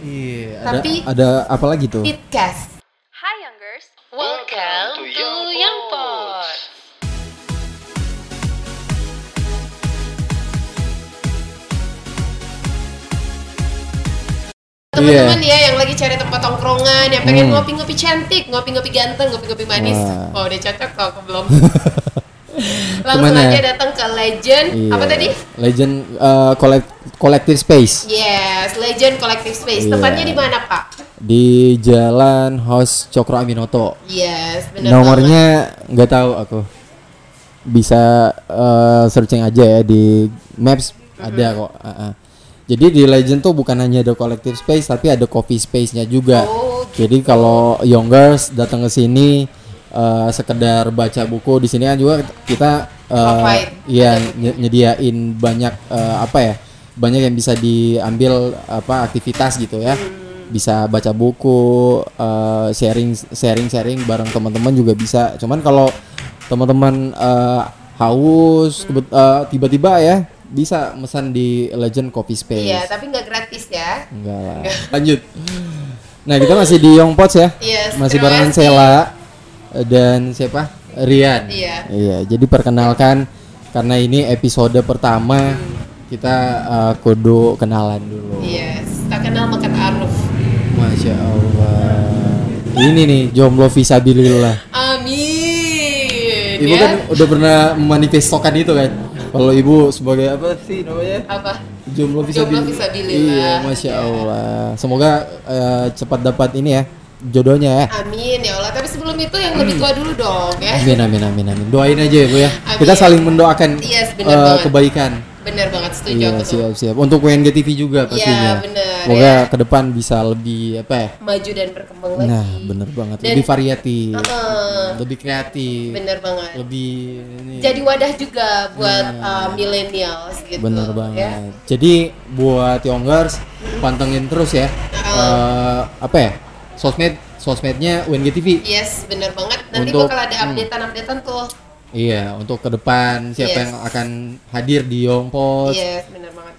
S3: Iya,
S2: tapi-
S3: ada, ada apa lagi tuh?
S2: podcast.
S1: Hi Youngers, welcome, to, Young Pod.
S2: Teman-teman ya yang lagi cari tempat tongkrongan, yang pengen
S3: Iya. Hmm.
S2: ngopi-ngopi cantik, ngopi-ngopi ganteng, ngopi-ngopi manis. Oh
S3: Wah.
S2: udah cocok kok aku belum. Langsung
S3: Kemana?
S2: aja datang ke Legend. Apa
S3: Iya.
S2: tadi?
S3: Legend eh, collect- Collective Space.
S2: Yes, Legend Collective Space.
S3: Iya.
S2: Tempatnya di mana, Pak?
S3: di Jalan House Cokro Aminoto.
S2: Yes, benar banget.
S3: Nomornya nggak tahu aku. Bisa eh, searching aja ya di Maps ada kok. heeh. Jadi di Legend tuh bukan hanya ada collective space tapi ada coffee space-nya juga.
S2: Oh,
S3: Jadi kalau youngers datang ke sini eh, sekedar baca buku di sini kan juga kita
S2: Provide.
S3: eh iya nye- nyediain banyak eh, apa ya? Banyak yang bisa diambil apa aktivitas gitu ya. Bisa baca buku, eh, sharing sharing sharing bareng teman-teman juga bisa. Cuman kalau teman-teman eh, haus kebet- eh, tiba-tiba ya bisa pesan di Legend Coffee Space.
S2: Iya, tapi nggak gratis ya.
S3: Enggak lah. Lanjut. Nah, kita masih di Yongpots ya.
S2: Yes,
S3: masih
S2: terima
S3: barengan
S2: kasih.
S3: Sela dan siapa? Rian.
S2: Iya.
S3: Iya, jadi perkenalkan karena ini episode pertama kita eh, kudu kenalan dulu.
S2: Yes, tak kenal maka ta'aruf.
S3: Masya Allah. Ini nih jomblo visabilillah.
S2: Amin.
S3: Ibu
S2: ya.
S3: kan udah pernah memanifestokan itu kan. Kalau ibu sebagai apa sih namanya?
S2: apa?
S3: Jomblo
S2: Jomblo
S3: visabilillah.
S2: visabilillah.
S3: Iya, masya
S2: Ya.
S3: Allah. Semoga eh, cepat dapat ini ya jodohnya ya.
S2: Amin ya Allah. Tapi sebelum itu yang lebih tua dulu dong ya.
S3: Amin amin amin amin. Doain aja ya bu ya.
S2: Amin.
S3: Kita saling mendoakan
S2: Yes, benar
S3: eh,
S2: banget.
S3: kebaikan.
S2: Bener banget setuju
S3: Iya
S2: aku tuh.
S3: siap siap. Untuk WNG TV juga pastinya.
S2: benar,
S3: Semoga
S2: Iya, ya.
S3: ke depan bisa lebih apa ya?
S2: Maju dan berkembang lagi.
S3: Nah bener banget.
S2: Dan-
S3: lebih variatif,
S2: Heeh,
S3: lebih kreatif,
S2: bener banget.
S3: lebih ini.
S2: Jadi wadah juga buat uh, millennials gitu.
S3: Bener
S2: ya.
S3: banget. Jadi buat youngers pantengin terus ya. Eh, apa ya? Sosmed sosmednya WNG TV.
S2: Yes, bener banget. Nanti
S3: Untuk- hmm.
S2: bakal ada updatean-updatean tuh.
S3: Iya, untuk ke depan siapa
S2: Yes.
S3: yang akan hadir di Yongpos.
S2: Yes, bener banget.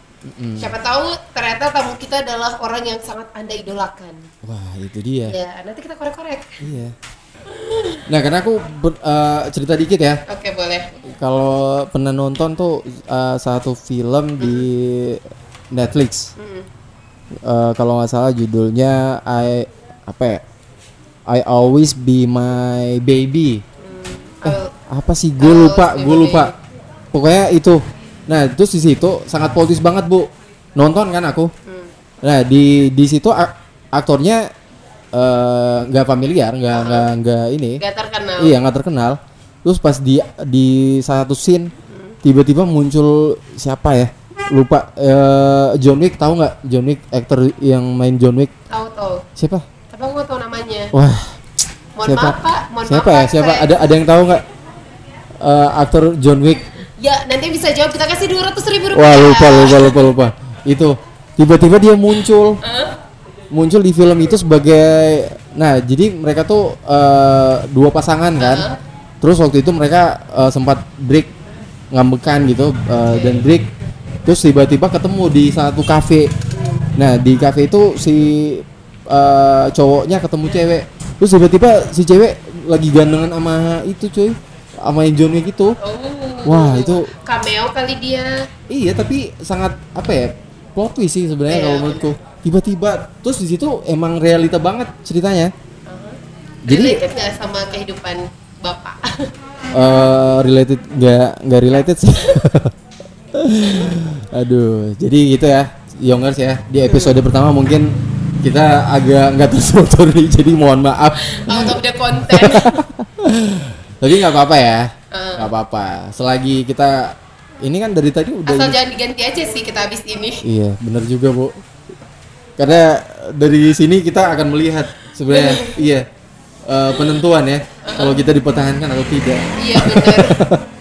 S2: Siapa tahu ternyata tamu kita adalah orang yang sangat anda idolakan.
S3: Wah, itu dia.
S2: Ya, nanti kita korek-korek.
S3: Iya. Nah, karena aku ber- eh, cerita dikit ya.
S2: Oke, boleh.
S3: Kalau pernah nonton tuh eh, satu film di Netflix. Eh, kalau nggak salah judulnya I apa ya? I always be my baby.
S2: Oh,
S3: Apa sih? Gue
S2: Always
S3: lupa,
S2: Be
S3: gue
S2: My
S3: lupa. Pokoknya itu. Nah, terus di situ sangat politis banget, Bu. Nonton kan aku.
S2: Hmm.
S3: Nah, di di situ ak- aktornya eh, nggak familiar, nggak nggak nggak ini.
S2: nggak terkenal.
S3: Iya nggak terkenal. Terus pas di di satu scene tiba-tiba muncul siapa ya? Lupa eh, John Wick tahu nggak John Wick aktor yang main John Wick
S2: Tahu tahu.
S3: siapa?
S2: Tapi aku nggak tahu namanya.
S3: Wah
S2: Mohon
S3: Oh, siapa?
S2: maaf Pak, mohon
S3: siapa
S2: maaf
S3: ya?
S2: Pak,
S3: Siapa?
S2: saya-
S3: Ada ada yang tahu nggak Eh, aktor John Wick?
S2: Ya nanti bisa jawab kita kasih dua ratus ribu rupiah.
S3: Wah lupa lupa lupa lupa. Itu tiba-tiba dia muncul muncul di film itu sebagai nah jadi mereka tuh eh, dua pasangan kan. Terus waktu itu mereka eh, sempat break ngambekan gitu eh, dan break terus tiba-tiba ketemu di satu kafe. Nah di kafe itu si eh, cowoknya ketemu cewek. Terus tiba-tiba si cewek lagi gandengan sama itu cuy sama gitu. yang John Wick itu.
S2: Oh.
S3: Wah, itu-
S2: cameo kali dia.
S3: Iya, tapi sangat apa ya? Plot twist sih sebenarnya
S2: Iya,
S3: kalau menurutku. Tiba-tiba terus di situ emang realita banget ceritanya. Jadi
S2: Uh-huh. Related nggak sama kehidupan bapak?
S3: eh, related nggak nggak related sih. Aduh, jadi gitu ya, Youngers ya. Di episode pertama mungkin kita agak nggak tersotori, jadi mohon maaf.
S2: Out of the content.
S3: Tapi nggak apa-apa ya,
S2: Uh.
S3: nggak apa-apa. Selagi kita ini kan dari tadi udah
S2: Asal jangan diganti aja sih kita habis ini.
S3: Iya, benar juga, Bu. Karena dari sini kita akan melihat sebenarnya iya eh, penentuan ya kalau kita dipertahankan atau tidak.
S2: Iya benar.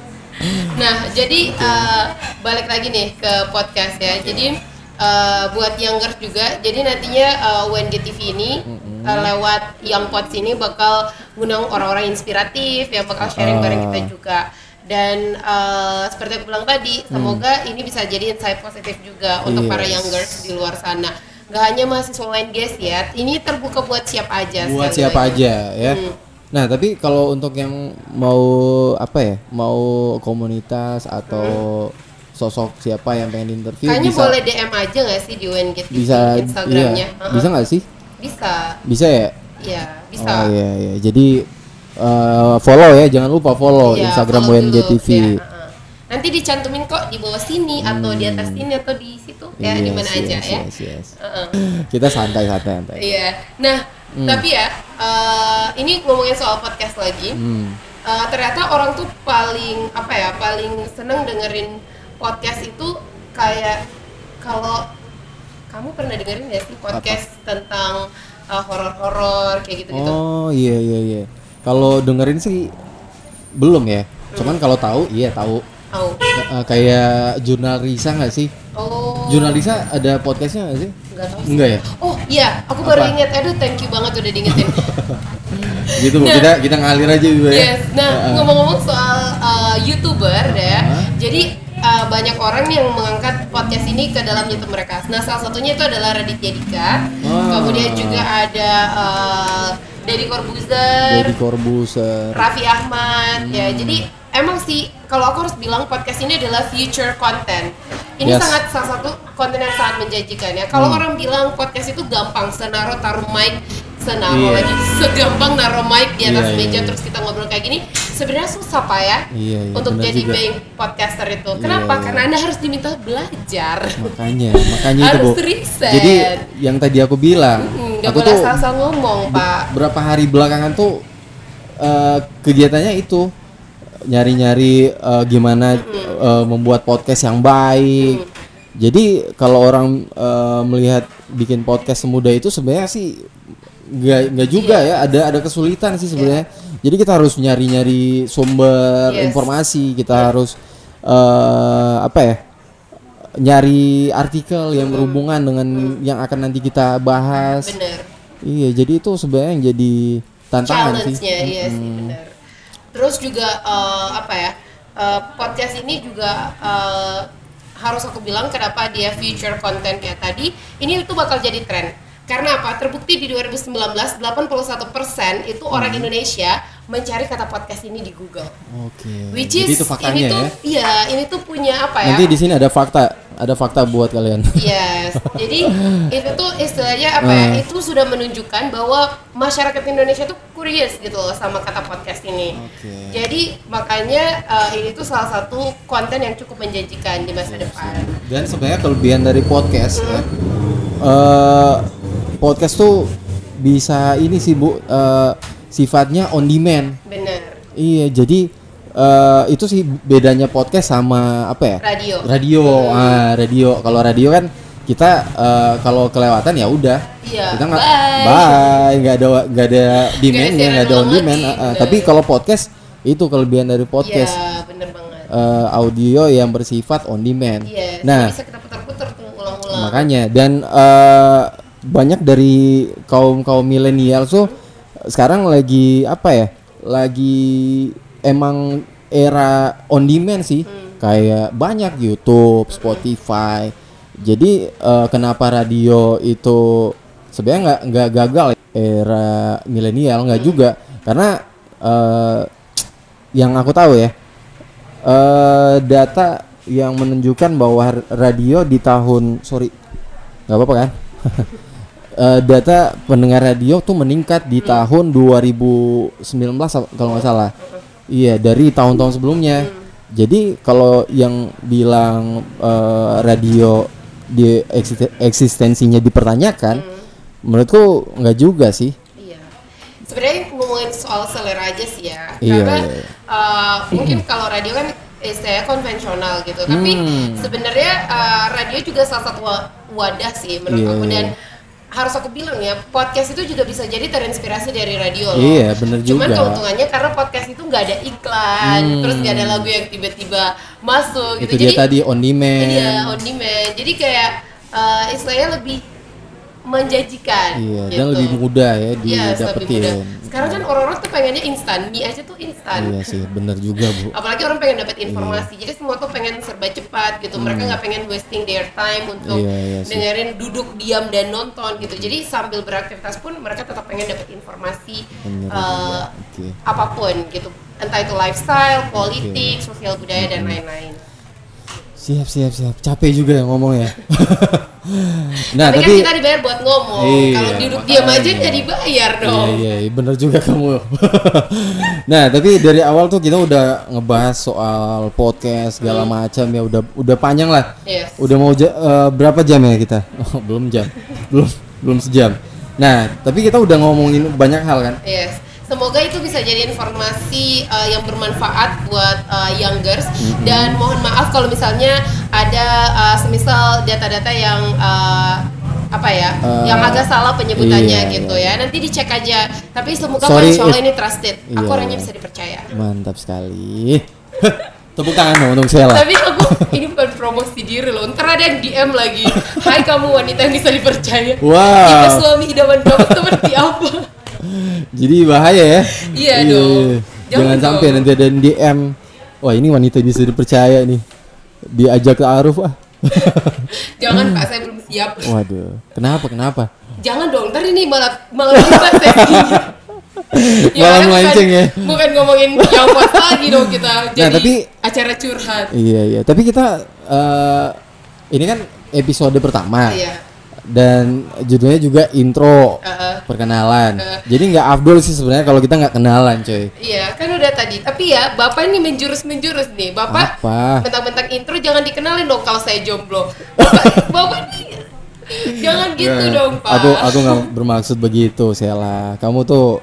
S2: Nah, jadi eh, balik lagi nih ke podcast ya. Jadi eh, buat youngers juga, jadi nantinya eh, UNG TV ini eh, lewat Young Pods ini bakal ngundang orang-orang inspiratif yang bakal sharing bareng kita juga. Dan eh, seperti aku bilang tadi, semoga ini bisa jadi insight positif juga untuk para
S3: Yes.
S2: youngers di luar sana. Gak hanya mahasiswa UNG sih ya, ini terbuka buat siapa aja.
S3: Buat
S2: sekali
S3: siapa
S2: lagi.
S3: aja ya.
S2: Hmm.
S3: Nah, tapi kalau untuk yang mau apa ya? Mau komunitas atau sosok siapa yang pengen interview
S2: Kayaknya
S3: Iya, bisa
S2: boleh DM aja nggak sih di UNG TV
S3: bisa
S2: Instagramnya?
S3: iya,
S2: Heeh.
S3: bisa nggak sih?
S2: Bisa,
S3: Bisa ya?
S2: iya bisa.
S3: Oh iya iya. Jadi eh, follow ya, jangan lupa follow
S2: Iya,
S3: Instagram
S2: follow
S3: WNG
S2: dulu,
S3: TV.
S2: ya, heeh. Nanti dicantumin kok di bawah sini atau di atas sini atau di situ ya di
S3: Hmm. Yes,
S2: mana aja
S3: yes,
S2: ya.
S3: yes, yes.
S2: Heeh.
S3: Kita santai santai santai.
S2: Iya. Nah,
S3: Hmm.
S2: tapi ya eh, ini ngomongin soal podcast lagi.
S3: Hmm.
S2: Eh, ternyata orang tuh paling apa ya paling seneng dengerin podcast itu kayak kalau kamu pernah dengerin nggak sih podcast tentang eh, horor-horor kayak gitu-gitu
S3: Oh iya iya iya. Kalau dengerin sih belum ya. Cuman kalau tahu iya tahu.
S2: Oh.
S3: Eh, kayak jurnal Risa nggak sih?
S2: Oh.
S3: Jurnal Risa ada podcastnya nggak sih?
S2: Nggak tahu sih.
S3: Enggak ya.
S2: Oh iya, aku baru
S3: Apa?
S2: ingat. Aduh, thank you banget udah diingetin.
S3: Gitu Bu, kita kita ngalir aja gitu ya.
S2: yes. Nah,
S3: Heeh.
S2: ngomong-ngomong soal uh, youtuber ya, jadi uh, banyak orang yang mengangkat podcast ini ke dalam YouTube mereka. Nah, salah satunya itu adalah Raditya Dika.
S3: Ah.
S2: Kemudian juga ada uh, Deddy Corbuzier,
S3: Deddy Corbuzier. Hmm.
S2: Raffi Ahmad. Ya, jadi emang sih kalau aku harus bilang podcast ini adalah future content. Ini
S3: Yes. Hmm.
S2: sangat salah satu konten yang sangat menjanjikan ya. Kalau orang bilang podcast itu gampang, senaruh taruh mic, senaruh
S3: Iya.
S2: lagi segampang naruh mic di atas
S3: Iya, iya,
S2: meja
S3: iya.
S2: terus kita ngobrol kayak gini, sebenarnya susah pak ya
S3: Iya, iya,
S2: untuk
S3: benar
S2: jadi
S3: juga.
S2: being podcaster itu. Kenapa?
S3: iya.
S2: Karena anda harus diminta belajar.
S3: makanya makanya itu bu
S2: Harus riset.
S3: jadi yang tadi aku bilang
S2: Hmm, Nggak
S3: aku
S2: boleh
S3: tuh
S2: asal-asal ngomong
S3: be-
S2: pak.
S3: berapa hari belakangan tuh eh, kegiatannya itu nyari-nyari eh, gimana eh, membuat podcast yang baik jadi kalau orang eh, melihat bikin podcast semudah itu sebenarnya sih nggak nggak juga ya ada ada kesulitan sih sebenarnya jadi kita harus nyari-nyari sumber
S2: Yes.
S3: informasi kita harus eh, apa ya nyari artikel yang berhubungan dengan yang akan nanti kita bahas
S2: Bener.
S3: Iya, jadi itu sebenarnya yang jadi tantangan sih.
S2: challenge-nya iya sih benar. Terus juga eh, apa ya? eh, podcast ini juga eh, harus aku bilang kenapa dia future content ya tadi ini itu bakal jadi tren. Karena apa? Terbukti di 2019 81% itu orang
S3: Hmm.
S2: Indonesia mencari kata podcast ini di Google.
S3: Oke.
S2: Which
S3: Hmm. jadi
S2: is
S3: itu faktanya
S2: ini tuh
S3: ya.
S2: iya, ini tuh punya apa ya?
S3: Nanti di sini ada fakta, ada fakta buat kalian.
S2: Yes, jadi itu tuh istilahnya apa
S3: Ah.
S2: ya? Itu sudah menunjukkan bahwa masyarakat Indonesia tuh curious gitu loh sama kata podcast ini.
S3: Oke.
S2: Jadi makanya eh, ini tuh salah satu konten yang cukup menjanjikan di
S3: Iya
S2: masa depan.
S3: Dan sebenarnya kelebihan dari podcast ya. Eh, podcast tuh bisa ini sih Bu eh, sifatnya on demand.
S2: Bener,
S3: Iya, jadi eh, itu sih bedanya podcast sama apa ya?
S2: radio.
S3: radio ah radio kalau radio kan kita eh, kalau kelewatan ya udah
S2: Iya,
S3: kita nggak
S2: bye.
S3: bye nggak ada nggak ada demandnya
S2: siaran
S3: nggak ada on
S2: ulang
S3: demand
S2: lagi,
S3: ah, ah.
S2: bener.
S3: tapi kalau podcast itu kelebihan dari
S2: Iya,
S3: podcast
S2: bener banget.
S3: eh, audio yang bersifat on demand
S2: Yes,
S3: nah
S2: Iya, bisa kita putar-putar tuh ulang-ulang.
S3: makanya dan eh, banyak dari kaum kaum milenial tuh sekarang lagi apa ya lagi emang era on demand sih kayak banyak YouTube Spotify jadi eh, kenapa radio itu sebenarnya nggak nggak gagal ya? era milenial nggak juga karena eh, yang aku tahu ya eh data yang menunjukkan bahwa r- radio di tahun sorry nggak apa-apa kan Eh, data pendengar radio tuh meningkat di tahun 2019 ap- kalau nggak salah iya dari tahun-tahun sebelumnya jadi kalau yang bilang eh, radio di eksiste- eksistensinya dipertanyakan menurutku nggak juga sih
S2: Iya. Sebenarnya ngomongin soal selera aja sih ya.
S3: Iya,
S2: Karena
S3: iya, iya.
S2: uh, mungkin kalau radio kan saya konvensional gitu. Tapi
S3: Hmm.
S2: sebenarnya uh, radio juga salah satu wa- wadah sih menurut
S3: Iya,
S2: aku dan
S3: iya.
S2: harus aku bilang ya, podcast itu juga bisa jadi terinspirasi dari radio loh.
S3: Iya, bener
S2: Cuman
S3: juga. Hmm.
S2: keuntungannya karena podcast itu nggak ada iklan, terus nggak ada lagu yang tiba-tiba masuk
S3: itu
S2: gitu.
S3: dia
S2: Jadi
S3: tadi on demand
S2: Iya, on demand. Jadi kayak uh, istilahnya lebih menjanjikan.
S3: Iya, dan
S2: gitu.
S3: lebih mudah ya
S2: Iya,
S3: didapetin
S2: Sekarang kan orang-orang tuh pengennya instan, mie aja tuh instan.
S3: Iya sih, bener juga bu.
S2: Apalagi orang pengen dapat informasi. Jadi semua tuh pengen serba cepat gitu. Mereka nggak pengen wasting their time untuk
S3: Iya, iya sih.
S2: dengerin duduk diam dan nonton gitu. Jadi sambil beraktivitas pun mereka tetap pengen dapat informasi eh,
S3: Bener juga. Oke.
S2: apapun gitu. Entah itu lifestyle, politik, sosial budaya dan lain-lain.
S3: Siap, siap, siap. Capek juga ya ngomong ya. nah,
S2: Tapi,
S3: tapi
S2: kan kita dibayar buat ngomong.
S3: Iya,
S2: Kalau duduk diam aja
S3: makanya.
S2: nggak dibayar
S3: iya,
S2: dong.
S3: iya, iya, bener juga kamu. nah, tapi dari awal tuh kita udah ngebahas soal podcast segala macam ya udah udah panjang lah.
S2: Hmm. Yes.
S3: Udah mau ja- eh, berapa jam ya kita? Oh, belum jam. belum belum sejam. Nah, tapi kita udah ngomongin banyak hal kan.
S2: Yes. Semoga itu bisa jadi informasi uh, yang bermanfaat buat uh, youngers
S3: Mm-hmm.
S2: dan mohon maaf kalau misalnya ada uh, semisal data-data yang uh, apa ya,
S3: Eh,
S2: yang agak salah penyebutannya
S3: iya,
S2: gitu ya. Nanti dicek aja. Tapi semoga
S3: Sorry
S2: insya Allah
S3: if-
S2: ini trusted. Aku
S3: Iya.
S2: orangnya bisa dipercaya.
S3: Mantap sekali. Tepuk tangan dong untuk Sheila.
S2: Tapi aku ini bukan promosi diri loh. Ntar ada yang DM lagi. Hai kamu wanita yang bisa dipercaya.
S3: Wow.
S2: Tipe suami idaman kamu seperti apa?
S3: Jadi bahaya ya.
S2: Iya dong. Jangan
S3: Jangan
S2: dong.
S3: sampai nanti ada yang DM. Wah ini wanita bisa dipercaya nih. Diajak ke Aruf ah.
S2: Jangan Pak, saya belum siap.
S3: Waduh. Kenapa kenapa?
S2: Jangan dong, ntar ini malah malah berubah sesinya.
S3: Malah
S2: kan bukan-
S3: melenceng ya. Nah,
S2: Bukan ngomongin yang puas lagi dong kita. Jadi
S3: tapi-
S2: acara curhat.
S3: Iya iya, tapi kita eh, ini kan episode pertama.
S2: Iya. Eh.
S3: Dan judulnya juga intro
S2: Heeh.
S3: perkenalan.
S2: Heeh.
S3: Jadi nggak afdol sih sebenarnya kalau kita nggak kenalan, coy.
S2: Iya, kan udah tadi. Tapi ya, Bapak ini menjurus-menjurus nih. Bapak
S3: Apa?
S2: bentang-bentang intro jangan dikenalin dong kalau saya jomblo. Bapak, Bapak ini
S3: Iya,
S2: jangan gitu
S3: Nggak,
S2: dong, Pak.
S3: Ya, Aku aku nggak bermaksud begitu, Sela. Kamu tuh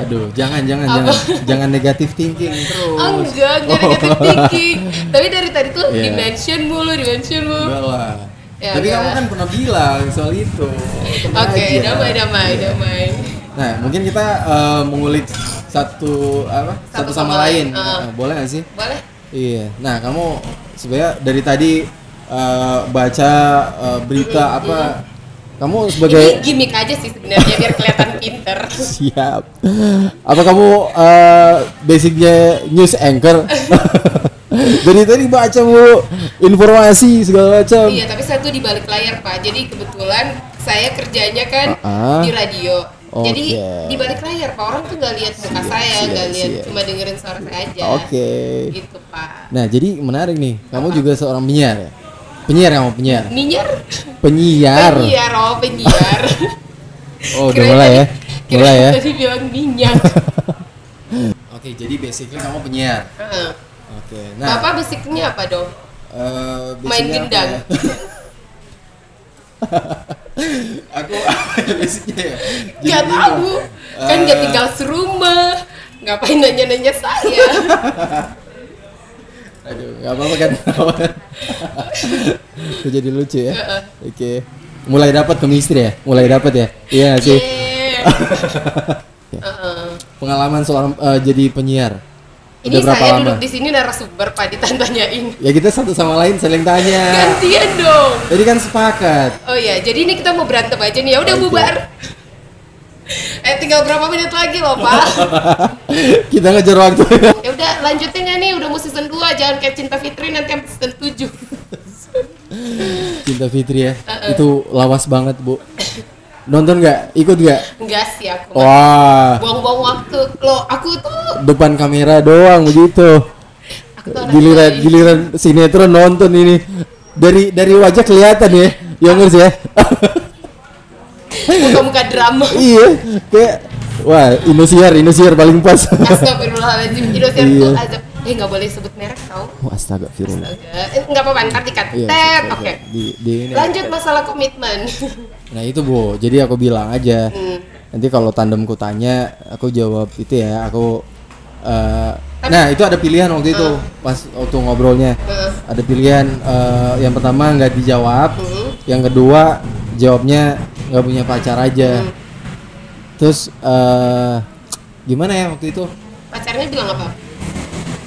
S3: aduh, jangan jangan jangan jangan negatif thinking terus.
S2: Ah, enggak, enggak negative thinking. Tapi dari tadi tuh
S3: Oh. Iya.
S2: dimension mulu, dimension mulu.
S3: Enggak lah.
S2: Ya,
S3: Tapi
S2: enggak
S3: kamu
S2: lah.
S3: kan pernah bilang soal itu. Tenang
S2: Oke,
S3: aja.
S2: damai-damai,
S3: Iya.
S2: damai.
S3: Nah, mungkin kita eh, mengulik satu apa? Satu, sama, lain.
S2: Ah.
S3: Eh, boleh nggak sih?
S2: Boleh?
S3: Iya. Nah, kamu sebenarnya dari tadi eh, baca eh, berita apa? Kamu sebagai
S2: Ini gimmick aja sih sebenarnya biar kelihatan pinter.
S3: siap. Apa kamu eh, basicnya news anchor? Dari tadi baca bu informasi segala macam.
S2: Iya, tapi satu di balik layar, Pak. Jadi kebetulan saya kerjanya kan
S3: Ah.
S2: di radio.
S3: Oke.
S2: Jadi di balik layar, Pak, orang tuh nggak lihat muka saya,
S3: siap,
S2: nggak lihat
S3: siap.
S2: cuma dengerin suara saya aja.
S3: Oke.
S2: Gitu, Pak.
S3: Nah, jadi menarik nih. Kamu juga seorang penyiar ya? Penyiar kamu, penyiar.
S2: Minyer?
S3: Penyiar.
S2: Penyiar, oh penyiar.
S3: Oh, udah
S2: Kirain
S3: mulai
S2: tadi-
S3: ya.
S2: kirain
S3: Mulai ya.
S2: Tadi bilang minyak.
S3: Oke, jadi basically kamu penyiar.
S2: Heeh.
S3: Oke. Nah,
S2: Bapak basicnya apa dong?
S3: eh,
S2: Main
S3: basicnya apa
S2: gendang.
S3: ya? Aku basicnya ya. Jadi
S2: Gak
S3: gini,
S2: tahu. Kan gak
S3: eh,
S2: tinggal serumah. Ngapain nanya-nanya saya?
S3: Aduh, nggak apa-apa kan. nggak apa-apa. Itu jadi lucu ya. Oke. Mulai dapat chemistry ya? Mulai dapat ya? Iya nggak sih.
S2: Yeah. Heeh.
S3: Pengalaman soal eh, jadi penyiar.
S2: Ini saya duduk di sini narasumber Pak ditanyain.
S3: Ya kita satu sama lain saling tanya.
S2: Gantian dong.
S3: Jadi kan sepakat.
S2: Oh ya, jadi ini kita mau berantem aja nih. Ya udah
S3: Oke.
S2: bubar. Eh tinggal berapa menit lagi loh, Pak?
S3: kita ngejar waktu.
S2: Ya udah lanjutin ya nih, udah mau season 2 jangan kayak Cinta Fitri nanti sampai season 7.
S3: Cinta Fitri ya. Itu lawas banget, Bu. Nonton nggak? Ikut nggak?
S2: Enggak sih aku.
S3: Wah,
S2: Buang-buang waktu. Loh, aku tuh
S3: depan kamera doang begitu.
S2: aku tuh anak
S3: Giliran
S2: baik.
S3: giliran sinetron nonton ini. Dari dari wajah kelihatan ya,
S2: Ah.
S3: Youngers ya.
S2: muka-muka drama.
S3: iya, kayak wah, Indosiar, Indosiar paling pas.
S2: Astagfirullahaladzim Indosiar
S3: Iya.
S2: tuh azab Eh nggak boleh sebut merek tau
S3: Wah, astaga, Firul.
S2: Agak- eh, nggak apa-apa ntar dikat
S3: Iya,
S2: Tet,
S3: siap, siap,
S2: Oke
S3: siap. Di, di ini.
S2: Lanjut masalah komitmen Hmm.
S3: Nah itu bu, jadi aku bilang aja. Nanti kalau tandemku tanya, aku jawab itu ya. Aku. eh, nah itu ada pilihan waktu itu
S2: Ah.
S3: pas waktu ngobrolnya.
S2: Eh.
S3: Ada pilihan eh, yang pertama nggak dijawab,
S2: Mm-hmm.
S3: yang kedua jawabnya nggak punya pacar aja.
S2: Mm-hmm.
S3: Terus eh, gimana ya waktu itu?
S2: Pacarnya bilang apa?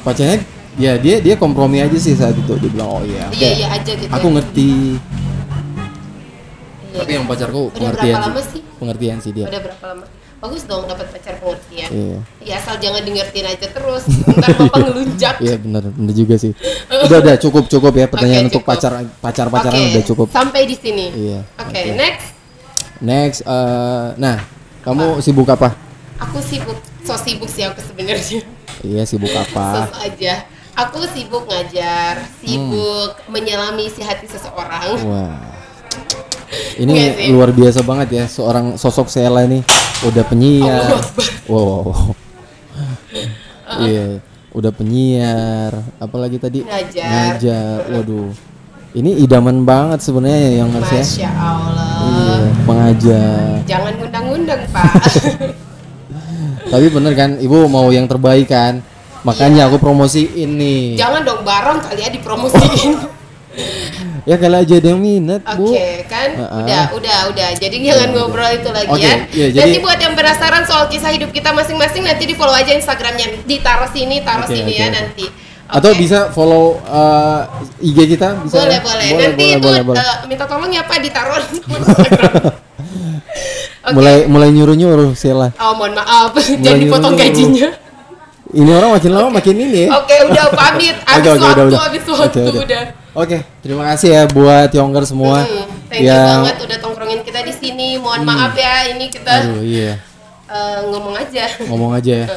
S3: Pacarnya ya dia dia kompromi aja sih saat itu. Dia bilang oh iya. oke.
S2: Iya iya aja gitu ya.
S3: Aku ngerti.
S2: Iya.
S3: Tapi yang pacarku
S2: Udah
S3: pengertian
S2: berapa
S3: sih.
S2: lama sih?
S3: Pengertian sih dia.
S2: Udah berapa lama? Bagus dong dapat pacar pengertian
S3: Iya.
S2: Ya asal jangan di ngertiin aja terus Ntar bapak ngelunjak
S3: Iya benar, benar juga sih. Udah udah cukup cukup ya
S2: Oke,
S3: pertanyaan untuk
S2: cukup.
S3: pacar pacar pacaran
S2: Oke,
S3: udah cukup.
S2: Sampai di sini
S3: Iya,
S2: Oke
S3: oke.
S2: next
S3: Next, eh, nah kamu sibuk apa?
S2: Aku sibuk So sibuk sih aku sebenarnya
S3: Iya sibuk apa?
S2: Sesuatu aja. Aku sibuk ngajar, sibuk
S3: Hmm.
S2: menyelami isi hati seseorang.
S3: Wah,
S2: Iya sih.
S3: ini luar biasa banget ya seorang sosok Sela ini udah penyiar.
S2: Allah Akbar.
S3: Wow, wow, wow. Iya, udah penyiar. Apalagi tadi
S2: Ngajar.
S3: Ngajar. Waduh, ini idaman banget sebenarnya ya, yang harusnya.
S2: Masya Allah.
S3: Iya, pengajar.
S2: Jangan ngundang-ngundang, Pak.
S3: Tapi bener kan, ibu mau yang terbaik kan?
S2: Iya.
S3: Makanya aku promosi ini.
S2: Jangan dong bareng kali ya dipromosiin.
S3: Ya kalau aja ada yang minat,
S2: Oke,
S3: Bu.
S2: kan?
S3: Ha-ha.
S2: Udah, udah, udah. Jadi jangan ngobrol itu lagi
S3: Oke,
S2: ya.
S3: iya, jadi-
S2: Nanti buat yang penasaran soal kisah hidup kita masing-masing nanti di-follow aja Instagramnya. Ditaruh sini, taruh
S3: Oke,
S2: sini
S3: oke,
S2: ya
S3: oke.
S2: nanti.
S3: Atau
S2: Oke.
S3: bisa follow eh, IG kita bisa.
S2: boleh,
S3: ya?
S2: boleh nanti
S3: boleh,
S2: itu
S3: boleh, boleh.
S2: eh, minta tolong ya Pak ditaruh di Instagram. Oke.
S3: Mulai mulai nyuruh-nyuruh Sela.
S2: Oh mohon maaf, jangan dipotong
S3: nyuruh.
S2: gajinya.
S3: Ini orang makin lama makin ini ya.
S2: Oke udah pamit, habis
S3: Oke, oke,
S2: waktu,
S3: udah, udah.
S2: habis
S3: Oke,
S2: waktu
S3: oke.
S2: udah.
S3: Oke, terima kasih ya buat Yongger semua.
S2: Hmm, thank you
S3: yang
S2: banget udah tongkrongin kita di sini. Mohon maaf ya ini kita
S3: Aduh, iya.
S2: eh, ngomong aja.
S3: ngomong aja ya.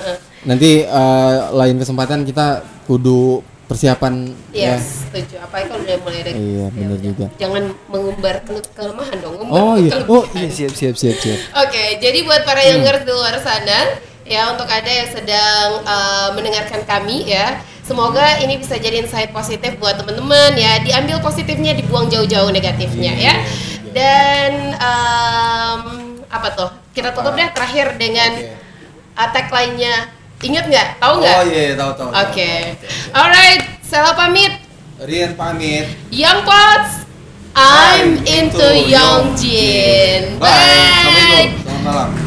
S3: Nanti eh, lain kesempatan kita kudu persiapan ya.
S2: Yes, setuju. Apalagi kalau udah mulai ada
S3: Iya, bener juga.
S2: Jangan mengumbar ke- kelemahan dong. Ngumbar
S3: Oh iya, Hmm.
S2: kelebihan.
S3: oh iya siap siap siap siap.
S2: Oke, jadi buat para youngers di luar sana, ya untuk ada yang sedang eh, mendengarkan kami ya, semoga ini bisa jadi insight positif buat teman-teman ya. Diambil positifnya, dibuang jauh-jauh negatifnya
S3: Iya,
S2: ya. Dan em, apa tuh? Kita tutup deh terakhir dengan eh, tagline-nya. Ingat nggak? Tahu nggak?
S3: Oh iya, tahu tahu.
S2: Oke. Alright, salah pamit.
S3: Rian pamit.
S2: Young Pots, I'm into Young Jin.
S3: Bye.
S2: Bye.
S3: Assalamualaikum. Selamat malam.